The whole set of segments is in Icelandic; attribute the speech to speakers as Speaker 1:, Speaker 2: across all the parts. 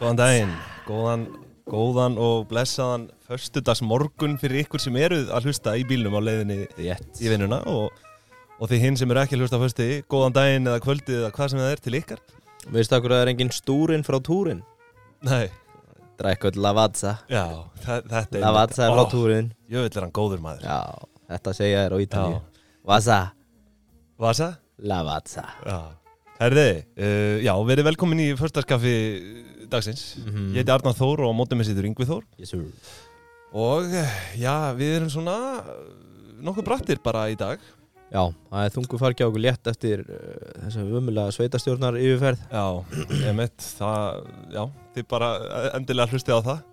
Speaker 1: Góðan daginn, góðan, góðan og blessaðan förstudags morgun fyrir ykkur sem eruð að hlusta í bílnum á leiðinni
Speaker 2: Rétt.
Speaker 1: í vinnuna og, og þið hinn sem eru ekki að hlusta á föstudagi, góðan daginn eða kvöldið eða hvað sem það er til ykkar.
Speaker 2: Veistu okkur að það er engin stúrin frá túrin?
Speaker 1: Nei,
Speaker 2: Drækkuð Lavazza.
Speaker 1: já, það, þetta er...
Speaker 2: Lavazza er frá túrin.
Speaker 1: Jövill er hann góður maður.
Speaker 2: Já, þetta segja þér á Ítalíu.
Speaker 1: Já.
Speaker 2: Vasa,
Speaker 1: Vasa?
Speaker 2: Lavazza.
Speaker 1: Já. Herði, uh, já, verið velkomin í förstudagskaffi dagsins. Ég heiti Arnar Þór og á mótum með sýtur Yngvi Þór.
Speaker 2: Yes, sir.
Speaker 1: Og eh, já, við erum svona eh, nokkuð brattir bara í dag.
Speaker 2: Já, það er þungu fargi á okkur létt eftir uh, þessa umulega sveitastjórnar yfirferð.
Speaker 1: Já, ég mitt, það, já, þið bara eh, endilega hlustið á það.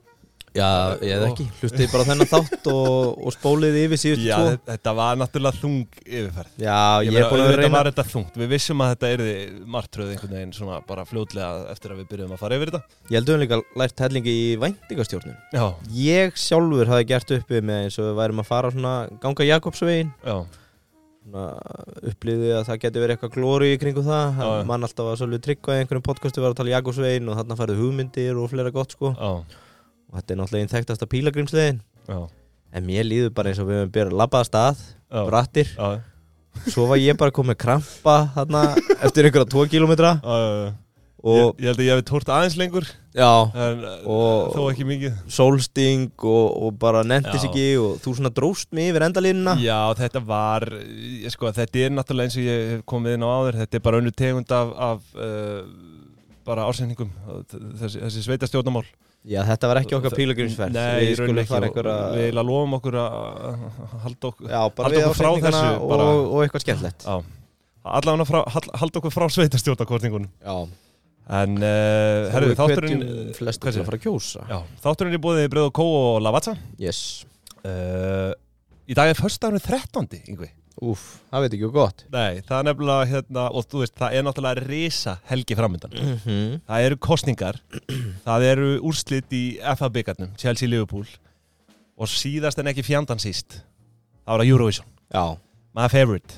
Speaker 2: Já, ég eða ekki. Hlustið bara á þennan þátt og, og spólið yfir síðustu
Speaker 1: Já,
Speaker 2: tvo.
Speaker 1: þe- þetta var náttúrulega þung yfirferð.
Speaker 2: Já, ég,
Speaker 1: meina,
Speaker 2: er búin að hérna.
Speaker 1: auðvitað
Speaker 2: reyna.
Speaker 1: var þetta þungt. Við vissum að þetta erði martröð einhvern veginn svona bara fljótlega eftir að við byrjuðum að fara yfir þetta.
Speaker 2: Ég heldur líka lært hellingi í væntingastjórnum.
Speaker 1: Já,
Speaker 2: Ég sjálfur hafði gert uppið með eins og við værum að fara svona ganga Jakobsvegin
Speaker 1: já,
Speaker 2: upplýði að það geti verið eitthvað glóri í kringu það
Speaker 1: Já, já.
Speaker 2: mann alltaf að svolítið tryggva í einhverjum podcasti var að tala Jakobsvegin og þarna færðu hugmyndir og fleira gott sko
Speaker 1: já,
Speaker 2: og þetta er náttúrulega einn þekktasta pílagrimslegin
Speaker 1: já, en,
Speaker 2: en mér líður bara eins og við höfum byrjað að labbaða stað
Speaker 1: Já.
Speaker 2: brattir,
Speaker 1: já, já,
Speaker 2: svo var ég bara komið krampa þarna eftir einhverja 2 kilometra
Speaker 1: já, já. ég,
Speaker 2: og
Speaker 1: ég held að ég hefði tórt aðeins lengur,
Speaker 2: já,
Speaker 1: en og,
Speaker 2: Og-
Speaker 1: þó ekki mikið.
Speaker 2: sólsting og, og bara nendis
Speaker 1: Já.
Speaker 2: ekki og þú svona dróst mig yfir endalínuna
Speaker 1: Já, þetta var, ég, sko, þetta er náttúrulega eins og ég hef komið inn á áður, þetta er bara önnur tegund af, af uh, bara ársendingum, þessi, þessi sveita stjórnamál.
Speaker 2: Já, þetta var ekki okkar pílagrimsferð
Speaker 1: Nei,
Speaker 2: Við
Speaker 1: í rauninni
Speaker 2: skulum
Speaker 1: ekki,
Speaker 2: fara einhverja
Speaker 1: við eiginlega lofum okkur að að halda okkur,
Speaker 2: Já, bara
Speaker 1: halda
Speaker 2: við
Speaker 1: okkur frá
Speaker 2: ásetningana
Speaker 1: þessu,
Speaker 2: og,
Speaker 1: bara,
Speaker 2: og eitthvað skemmtlegt
Speaker 1: já, allavega frá, hall- halda okkur frá sveita stjórnakortingunum.
Speaker 2: Já,
Speaker 1: En, uh, herru, þátturinn, hvað
Speaker 2: Flest til
Speaker 1: segir?
Speaker 2: að fara að kjósa
Speaker 1: já, þátturinn er búið í Bröð og Kó og Lavazza.
Speaker 2: Yes
Speaker 1: Uh, í dag er förstafnum 13. yngvi.
Speaker 2: Úf, það veit ekki og gott
Speaker 1: Nei, það er nefnilega, hérna, og þú veist, það er náttúrulega risa helgi framöndan. Það eru kostningar, það eru úrslit í FA byggarnum, Chelsea Liverpool og síðast en ekki fjandan síst, það var að Eurovision,
Speaker 2: Já,
Speaker 1: my favorite.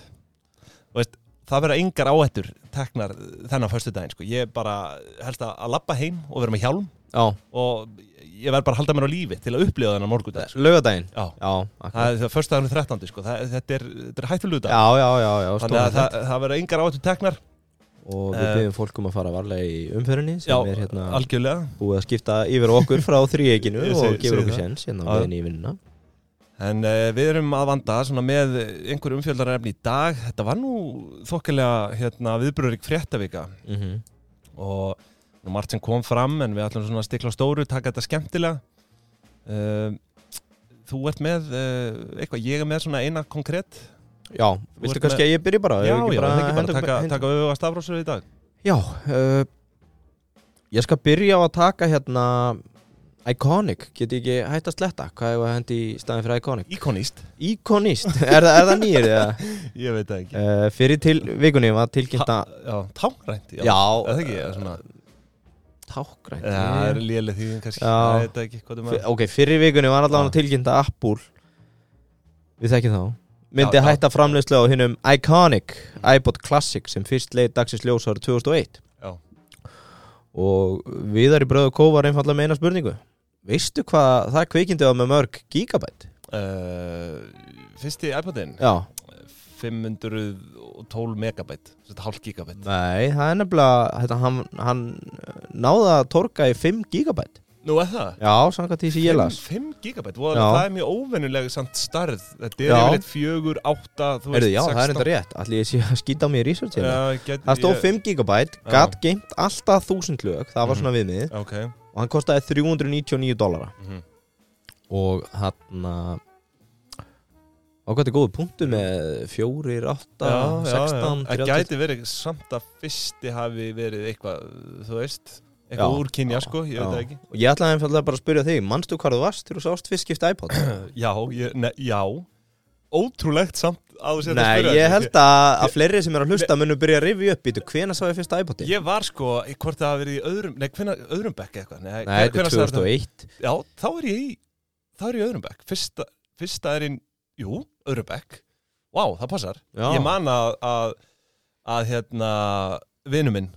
Speaker 1: Og veist, það verða yngar áhættur teknar þennan förstu daginn, sko. Ég bara helst að, að lappa heim og vera með hjálm
Speaker 2: já,
Speaker 1: og ég verð bara að halda mér á lífi til að upplifa þennan morgundag. sko.
Speaker 2: lögadaginn
Speaker 1: Já,
Speaker 2: Já, akkurat
Speaker 1: það er það förstu daginn 13. sko, það, þetta er, þetta er hættulegu dag.
Speaker 2: Já, já, já,
Speaker 1: Þannig
Speaker 2: já,
Speaker 1: að
Speaker 2: stórhættulegt.
Speaker 1: það, það verða yngar áhættur teknar
Speaker 2: Og
Speaker 1: Eh,
Speaker 2: við byggjum fólkum að fara varlega í umferðinni sem
Speaker 1: Já,
Speaker 2: er hérna
Speaker 1: algjörlega
Speaker 2: búið að skipta yfir á okkur frá þrýeginu
Speaker 1: Ég
Speaker 2: og
Speaker 1: segi-
Speaker 2: gefur
Speaker 1: segi
Speaker 2: okkur
Speaker 1: það.
Speaker 2: séns hérna
Speaker 1: Já.
Speaker 2: með henni í vinnuna
Speaker 1: En uh, við erum að vanda svona, með einhver umfjöldarefni í dag Þetta var nú þokkilega hérna, viðbröðurík fréttavika
Speaker 2: Mhm.
Speaker 1: og nú margt sem kom fram en við ætlum svona að stikla á stóru, taka þetta skemmtilega uh, Þú ert með uh, eitthvað, ég er með svona eina konkrétt
Speaker 2: Já,
Speaker 1: ert
Speaker 2: viltu kannski að ég byrji bara?
Speaker 1: Já, já,
Speaker 2: Ef ekki
Speaker 1: það er ekki bara
Speaker 2: henda okkur-
Speaker 1: taka,
Speaker 2: henda-
Speaker 1: taka við á stafrósur í dag
Speaker 2: Já, uh, ég skal byrja á að taka hérna Iconic, get ég ekki hætt að sletta hvað er að hendi í staðin fyrir Iconic
Speaker 1: Íkonist?
Speaker 2: Iconist, er, það- er það nýr? eða?
Speaker 1: Ég veit það ekki
Speaker 2: uh, fyrir til vikunni var tilkynnt að
Speaker 1: Eh, Já, támrænt
Speaker 2: Já,
Speaker 1: Er það ekki, eða svona
Speaker 2: tákrænt
Speaker 1: Já, það er léleg því kannski,
Speaker 2: Já.
Speaker 1: ég veit það ekki hvað þú maður
Speaker 2: Fyr- Ok, fyrir vikunni var allavega
Speaker 1: Já.
Speaker 2: tilkynnt að Apple við þekkjum þá myndi
Speaker 1: Já, já.
Speaker 2: hætta framleiðslu á hinnum Iconic iPod Classic sem fyrst leið dagsins ljós árið 2001
Speaker 1: Já.
Speaker 2: og viðar í bröðu kó var einfallega með eina spurningu veistu hvað það kveikindi var með mörg gigabæt?
Speaker 1: uh, Fyrsti iPodin
Speaker 2: Já,
Speaker 1: 512 megabæt þetta hálf gigabæt
Speaker 2: nei, það er nefnilega þetta, hann, hann náða að torka í 5 gigabæt
Speaker 1: Nú er það?
Speaker 2: Já, samkvæmt því sem ég las
Speaker 1: 5 gigabæt, voða,
Speaker 2: Já.
Speaker 1: það er mjög óvennuleg samt starð, þetta er
Speaker 2: Já.
Speaker 1: yfirleitt 4, 8, þú
Speaker 2: Heyrðu, já, það er enda rétt, allir ég sé að skýta á mér í research hérna
Speaker 1: Já, get,
Speaker 2: Það stóð
Speaker 1: ég-
Speaker 2: 5 GB,
Speaker 1: Já. Mhm.
Speaker 2: gatt geimt alltaf 1000 lög, það var svona viðmið
Speaker 1: Ok,
Speaker 2: og hann kostaði 399 dollara
Speaker 1: Mhm.
Speaker 2: og hann og hvað er góðu punktu með 4, 8, 16,
Speaker 1: Það
Speaker 2: 30
Speaker 1: gæti verið samt að fyrsti hafi verið eitthvað, þú veist
Speaker 2: Já.
Speaker 1: eitthvað úr kynja sko, ég veit
Speaker 2: Já.
Speaker 1: það ekki
Speaker 2: og ég ætlaði einfallega bara að spyrja þig, manstu hvar þú varst þegar þú sást fyrst skipt iPod?
Speaker 1: Já, ég, ne, já Ótrúlegt samt hérna að þú sér að
Speaker 2: Nei,
Speaker 1: spyrja
Speaker 2: ég
Speaker 1: þetta.
Speaker 2: held að, að fleiri sem er að hlusta munum byrja að rifja upp býtu, hvena sá ég fyrst iPod?
Speaker 1: Ég var sko, hvort það hafi verið í öðrum Nei, hvena, öðrum bekk eitthvað Nei,
Speaker 2: Nei, þetta er
Speaker 1: hvenær sagði það?
Speaker 2: 2001
Speaker 1: Já, þá er ég í Þá er ég í öðrum bekk Fyrsta, fyrsta er inn, jú, Örubekk Vá, það passar
Speaker 2: Já.
Speaker 1: Ég man að, að, að hérna, vinur minn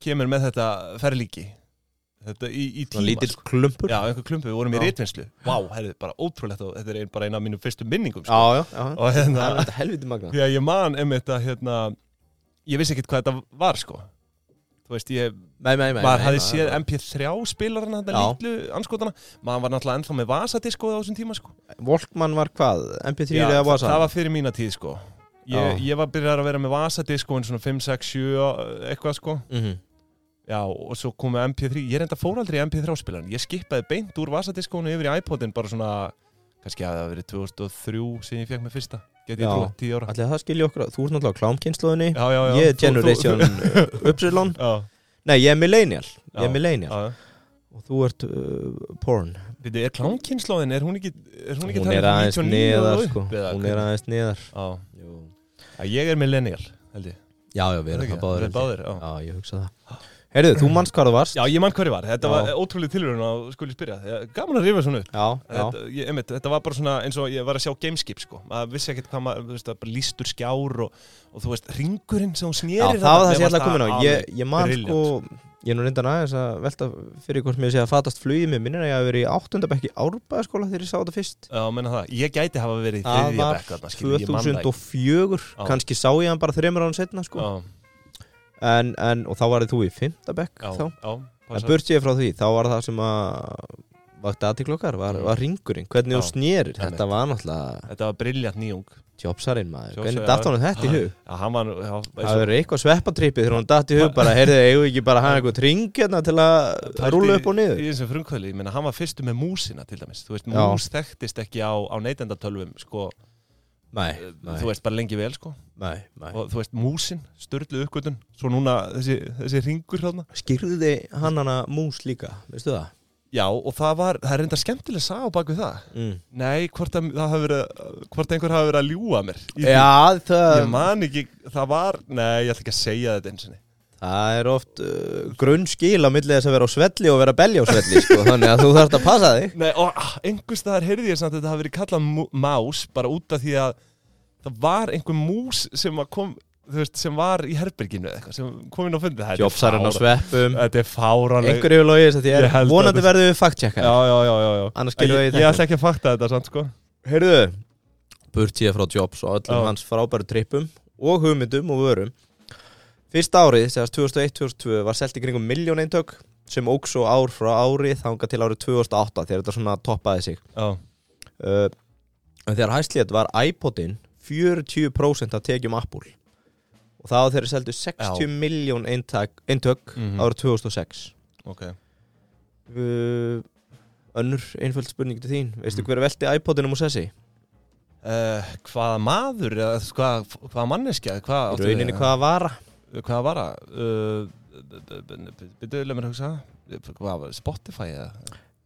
Speaker 1: kemur með þetta ferlíki Þetta í, í tíma sko.
Speaker 2: Svona lítill klumpur
Speaker 1: Já, einhver klumpu, við vorum í
Speaker 2: Já.
Speaker 1: rítvinnslu Vá, herrið, bara ótrúlegt og þetta er ein, bara eina af mínum fyrstu minningum sko.
Speaker 2: já, já, já.
Speaker 1: Og
Speaker 2: Það er
Speaker 1: hérna,
Speaker 2: þetta helviti magna
Speaker 1: því að ég man einmitt að hérna, ég vissi ekkert hvað þetta var sko Þú veist, ég
Speaker 2: Nei, nei, nei
Speaker 1: maður
Speaker 2: nei,
Speaker 1: hafði
Speaker 2: nei,
Speaker 1: séð
Speaker 2: nei.
Speaker 1: MP3 spilarana þetta
Speaker 2: Já.
Speaker 1: litlu anskotana maður var náttúrulega ennþá með vasadisko á þessum tíma sko.
Speaker 2: Walkman e- var hvað? MP3
Speaker 1: Já,
Speaker 2: eða
Speaker 1: það-
Speaker 2: Vasa?
Speaker 1: það var fyrir mína tíð sko.
Speaker 2: Já.
Speaker 1: ég, ég var byrjar að vera með vasadisko en svona 5, 6, 7 eitthvað sko
Speaker 2: Mhm.
Speaker 1: Já, og svo komu MP3, ég reynda fór aldrei í MP3 spilaran, ég skipaði beint úr vasadiskónu yfir í iPodin bara svona kannski að það verið 2003 sem ég fekk með fyrsta, geti ég
Speaker 2: Já.
Speaker 1: trúið, 10 ára
Speaker 2: Ætli að það skilji okkur að- Þú ert náttúrulega á klámkynsluðinni
Speaker 1: Já, já, já
Speaker 2: Ég er
Speaker 1: Þú- þú-
Speaker 2: Generation uh,
Speaker 1: þú-
Speaker 2: Upsilon
Speaker 1: Já,
Speaker 2: Nei, ég er millennial Ég
Speaker 1: Já.
Speaker 2: er millennial
Speaker 1: já,
Speaker 2: Og þú ert uh, porn
Speaker 1: veitu, er klánkynnslóðin, er hún ekki er hún ekki
Speaker 2: Hún er
Speaker 1: talin
Speaker 2: aðeins
Speaker 1: 99
Speaker 2: neðar
Speaker 1: og upp,
Speaker 2: sko
Speaker 1: eða
Speaker 2: Hún
Speaker 1: hvernig?
Speaker 2: er aðeins neðar
Speaker 1: Já, að ég er millennial, held ég
Speaker 2: Já, já, við erum
Speaker 1: ekki?
Speaker 2: það báður
Speaker 1: Við erum báðir, já.
Speaker 2: Já, ég hugsa það Heyrðu, þú mannst hvað það varst
Speaker 1: Já, ég mann hverju var, þetta
Speaker 2: Já.
Speaker 1: var ótrúlega tilhörun að skuli spyrja, Ég- gaman að rifa svona upp
Speaker 2: já, já.
Speaker 1: Þetta, ég, einmitt, þetta var bara svona eins og ég var að sjá gameskip sko, maður vissi ekkert hvað maður, þú veist, það bara lístur skjár og, og þú veist, ringurinn sem hún
Speaker 2: já
Speaker 1: snýrir
Speaker 2: það var það sem ég ætla að koma inn á Ég, ég man
Speaker 1: brilliant.
Speaker 2: sko Ég er nú reyndan aðeins að velta fyrir hvort mér sé að fatast flugið mér minnir að ég hafi verið í áttundabekki árbæðaskóla þegar ég sá þetta fyrst
Speaker 1: Já, menna það, ég gæti hafa verið í
Speaker 2: Það
Speaker 1: þriðja
Speaker 2: var
Speaker 1: bekk þarna, skilur, ég man það ekki.
Speaker 2: 2004
Speaker 1: Já.
Speaker 2: kannski sá ég hann bara þreymur án setna sko
Speaker 1: Já,
Speaker 2: en, en, og þá varði þú í fimmtabekk
Speaker 1: já,
Speaker 2: þá
Speaker 1: já,
Speaker 2: en
Speaker 1: passar.
Speaker 2: burt ég frá því, þá var það sem að vakti aðtiklokkar, var, var ringurinn hvernig
Speaker 1: Mm. Já,
Speaker 2: þú snérir,
Speaker 1: einmitt.
Speaker 2: þetta var náttúrulega
Speaker 1: Þetta var briljant nýjung
Speaker 2: tjópsarinn maður,
Speaker 1: Jobsarinn,
Speaker 2: hvernig
Speaker 1: já.
Speaker 2: datt honum þetta í hug
Speaker 1: Já, hann var, nú- já, eins
Speaker 2: það
Speaker 1: og-
Speaker 2: verður eitthvað sveppatrippið þegar hún datt í hug bara, heyrðu, eigum við ekki bara að hafa eitthvað ring hérna til að
Speaker 1: pældi
Speaker 2: rúla upp og niður
Speaker 1: Í þessum frumkvöli, ég menna, hann var fyrstu með músina til dæmis, þú veist,
Speaker 2: Já.
Speaker 1: mús þekktist ekki á, á neytendatölvum, sko
Speaker 2: nei, nei,
Speaker 1: þú veist, bara lengi vel, sko
Speaker 2: nei, nei.
Speaker 1: og þú veist, músin, störlu uppgötun svo núna þessi, þessi ringur hlána
Speaker 2: skýrðu þið hann hana mús líka, veistu það?
Speaker 1: Já, og það var, það er reynda skemmtileg sá á baku það.
Speaker 2: Mm.
Speaker 1: Nei, hvort, að, það hafi verið, hvort einhver hafi verið að ljúa mér. Í því.
Speaker 2: Já, það,
Speaker 1: Ég man ekki, það var, nei, ég ætla ekki að segja þetta eins og niður.
Speaker 2: það er oft uh, grunnskil á milli þess að vera á svelli og vera belja á svelli sko, þannig að þú þarft að passa þig
Speaker 1: Nei, og ah, einhvers staðar heyrði ég samt að þetta hafi verið kallað mú- más, bara út af því að það var einhver mús sem að kom, þú veist, sem var í herberginu eða eitthvað, sem kom inn á fundið. Þetta er
Speaker 2: Jobsarinn á
Speaker 1: fárán-
Speaker 2: sveppum
Speaker 1: Þetta er fáranlega.
Speaker 2: einhver hefur logið þess að
Speaker 1: Ég
Speaker 2: ég
Speaker 1: held
Speaker 2: er
Speaker 1: að
Speaker 2: vonandi
Speaker 1: þetta-
Speaker 2: verðum við fact-checkar
Speaker 1: Já, já, já, já, já.
Speaker 2: Annars gerðu
Speaker 1: ég,
Speaker 2: það í
Speaker 1: ég
Speaker 2: þetta.
Speaker 1: ætla ekki að fakta þetta samt, sko.
Speaker 2: Heyrðu Burt ég frá Jobs og
Speaker 1: Já.
Speaker 2: öllum hans frábæru trippum og hugmyndum og vörum Fyrsta árið, segast 2001-2002 var selt í kringum miljón eintök sem óks og ár frá ári þanga til árið 2008 þegar þetta svona toppaði sig
Speaker 1: Já,
Speaker 2: uh, en Þegar hæslið var iPodin 40% af tekjum Apple og það var þeirri seldu 60
Speaker 1: Já.
Speaker 2: miljón eintök, eintök
Speaker 1: Mhm.
Speaker 2: árið 2006
Speaker 1: ok.
Speaker 2: uh, Önnur einföld spurning til þín
Speaker 1: Mhm.
Speaker 2: Veistu hver velti iPodinum og sessi?
Speaker 1: Uh, hvaða maður, eða hvað, hvaða manneskja, eða hvað
Speaker 2: Í
Speaker 1: áttu við?
Speaker 2: rauninni hvaða vara?
Speaker 1: hvað var það? Byrjuðu mér að hugsa hvað var Spotify eða?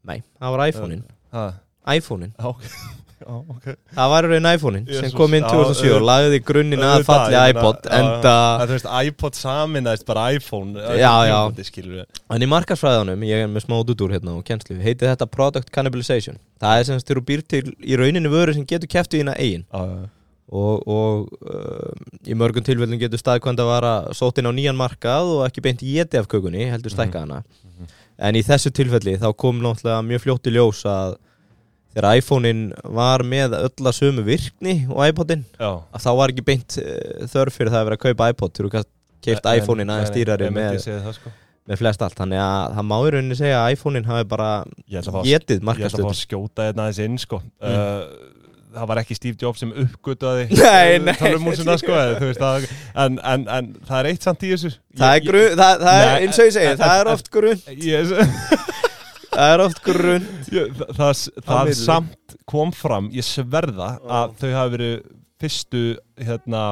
Speaker 2: Nei, það var iPhone-in
Speaker 1: Ha,
Speaker 2: iPhone-in,
Speaker 1: já, ok, já, ok
Speaker 2: það var í raun iPhone-in sem
Speaker 1: Jesus,
Speaker 2: kom inn
Speaker 1: já,
Speaker 2: 2007 og
Speaker 1: auðvitað.
Speaker 2: lagði grunninn að
Speaker 1: Auðvitað,
Speaker 2: falli
Speaker 1: ég meina,
Speaker 2: iPod
Speaker 1: já,
Speaker 2: en
Speaker 1: að þú veist iPod saminæst bara iPhone
Speaker 2: Já, já.
Speaker 1: já skilur við
Speaker 2: en í markarsfræðanum, ég er með smá dúdúr hérna og kennslu, heiti þetta Product Cannibalization það er sem sagt þegar þú býr til í rauninni vöru sem getur kæftu þína eigin
Speaker 1: Já, já, já.
Speaker 2: og, og um, í mörgum tilfellum getur staðkvæmd að vara sótt inn á nýjan markað og ekki beint éti af kökunni, heldur
Speaker 1: Mhm.
Speaker 2: stækka hana en í þessu tilfelli þá kom náttúrulega mjög fljótt í ljós að þegar iPhone-in var með ölla sömu virkni og iPod-in
Speaker 1: já
Speaker 2: að þá var ekki beint eh, þörf fyrir það að vera að kaupa iPod þú kannast keift
Speaker 1: En-
Speaker 2: iPhone-in aðeins
Speaker 1: nei, nei,
Speaker 2: stýrari
Speaker 1: ég myndi
Speaker 2: með,
Speaker 1: segja það, sko.
Speaker 2: með flest allt þannig að það má í rauninni segja að iPhone-in hafi bara
Speaker 1: Ég ætla að fá að- Ég ætla
Speaker 2: getið
Speaker 1: að fá
Speaker 2: markastöð
Speaker 1: að skjóta þetta aðeins inn sko
Speaker 2: Mm.
Speaker 1: Uh, Það var ekki Steve Jobs sem uppgötaði
Speaker 2: Nei, nei.
Speaker 1: Tölvumúsina sko eða þú veist, það, en, en, en það er eitt samt í þessu
Speaker 2: það er,
Speaker 1: Ég-
Speaker 2: grun, það, það er
Speaker 1: Nei,
Speaker 2: eins og ég segi
Speaker 1: en-
Speaker 2: það
Speaker 1: en-
Speaker 2: er oft grunn
Speaker 1: ég- Ég,
Speaker 2: það er oft grunn
Speaker 1: Ég- Þa, það það
Speaker 2: milli.
Speaker 1: samt kom fram, ég sverða að þau hafi verið fyrstu hérna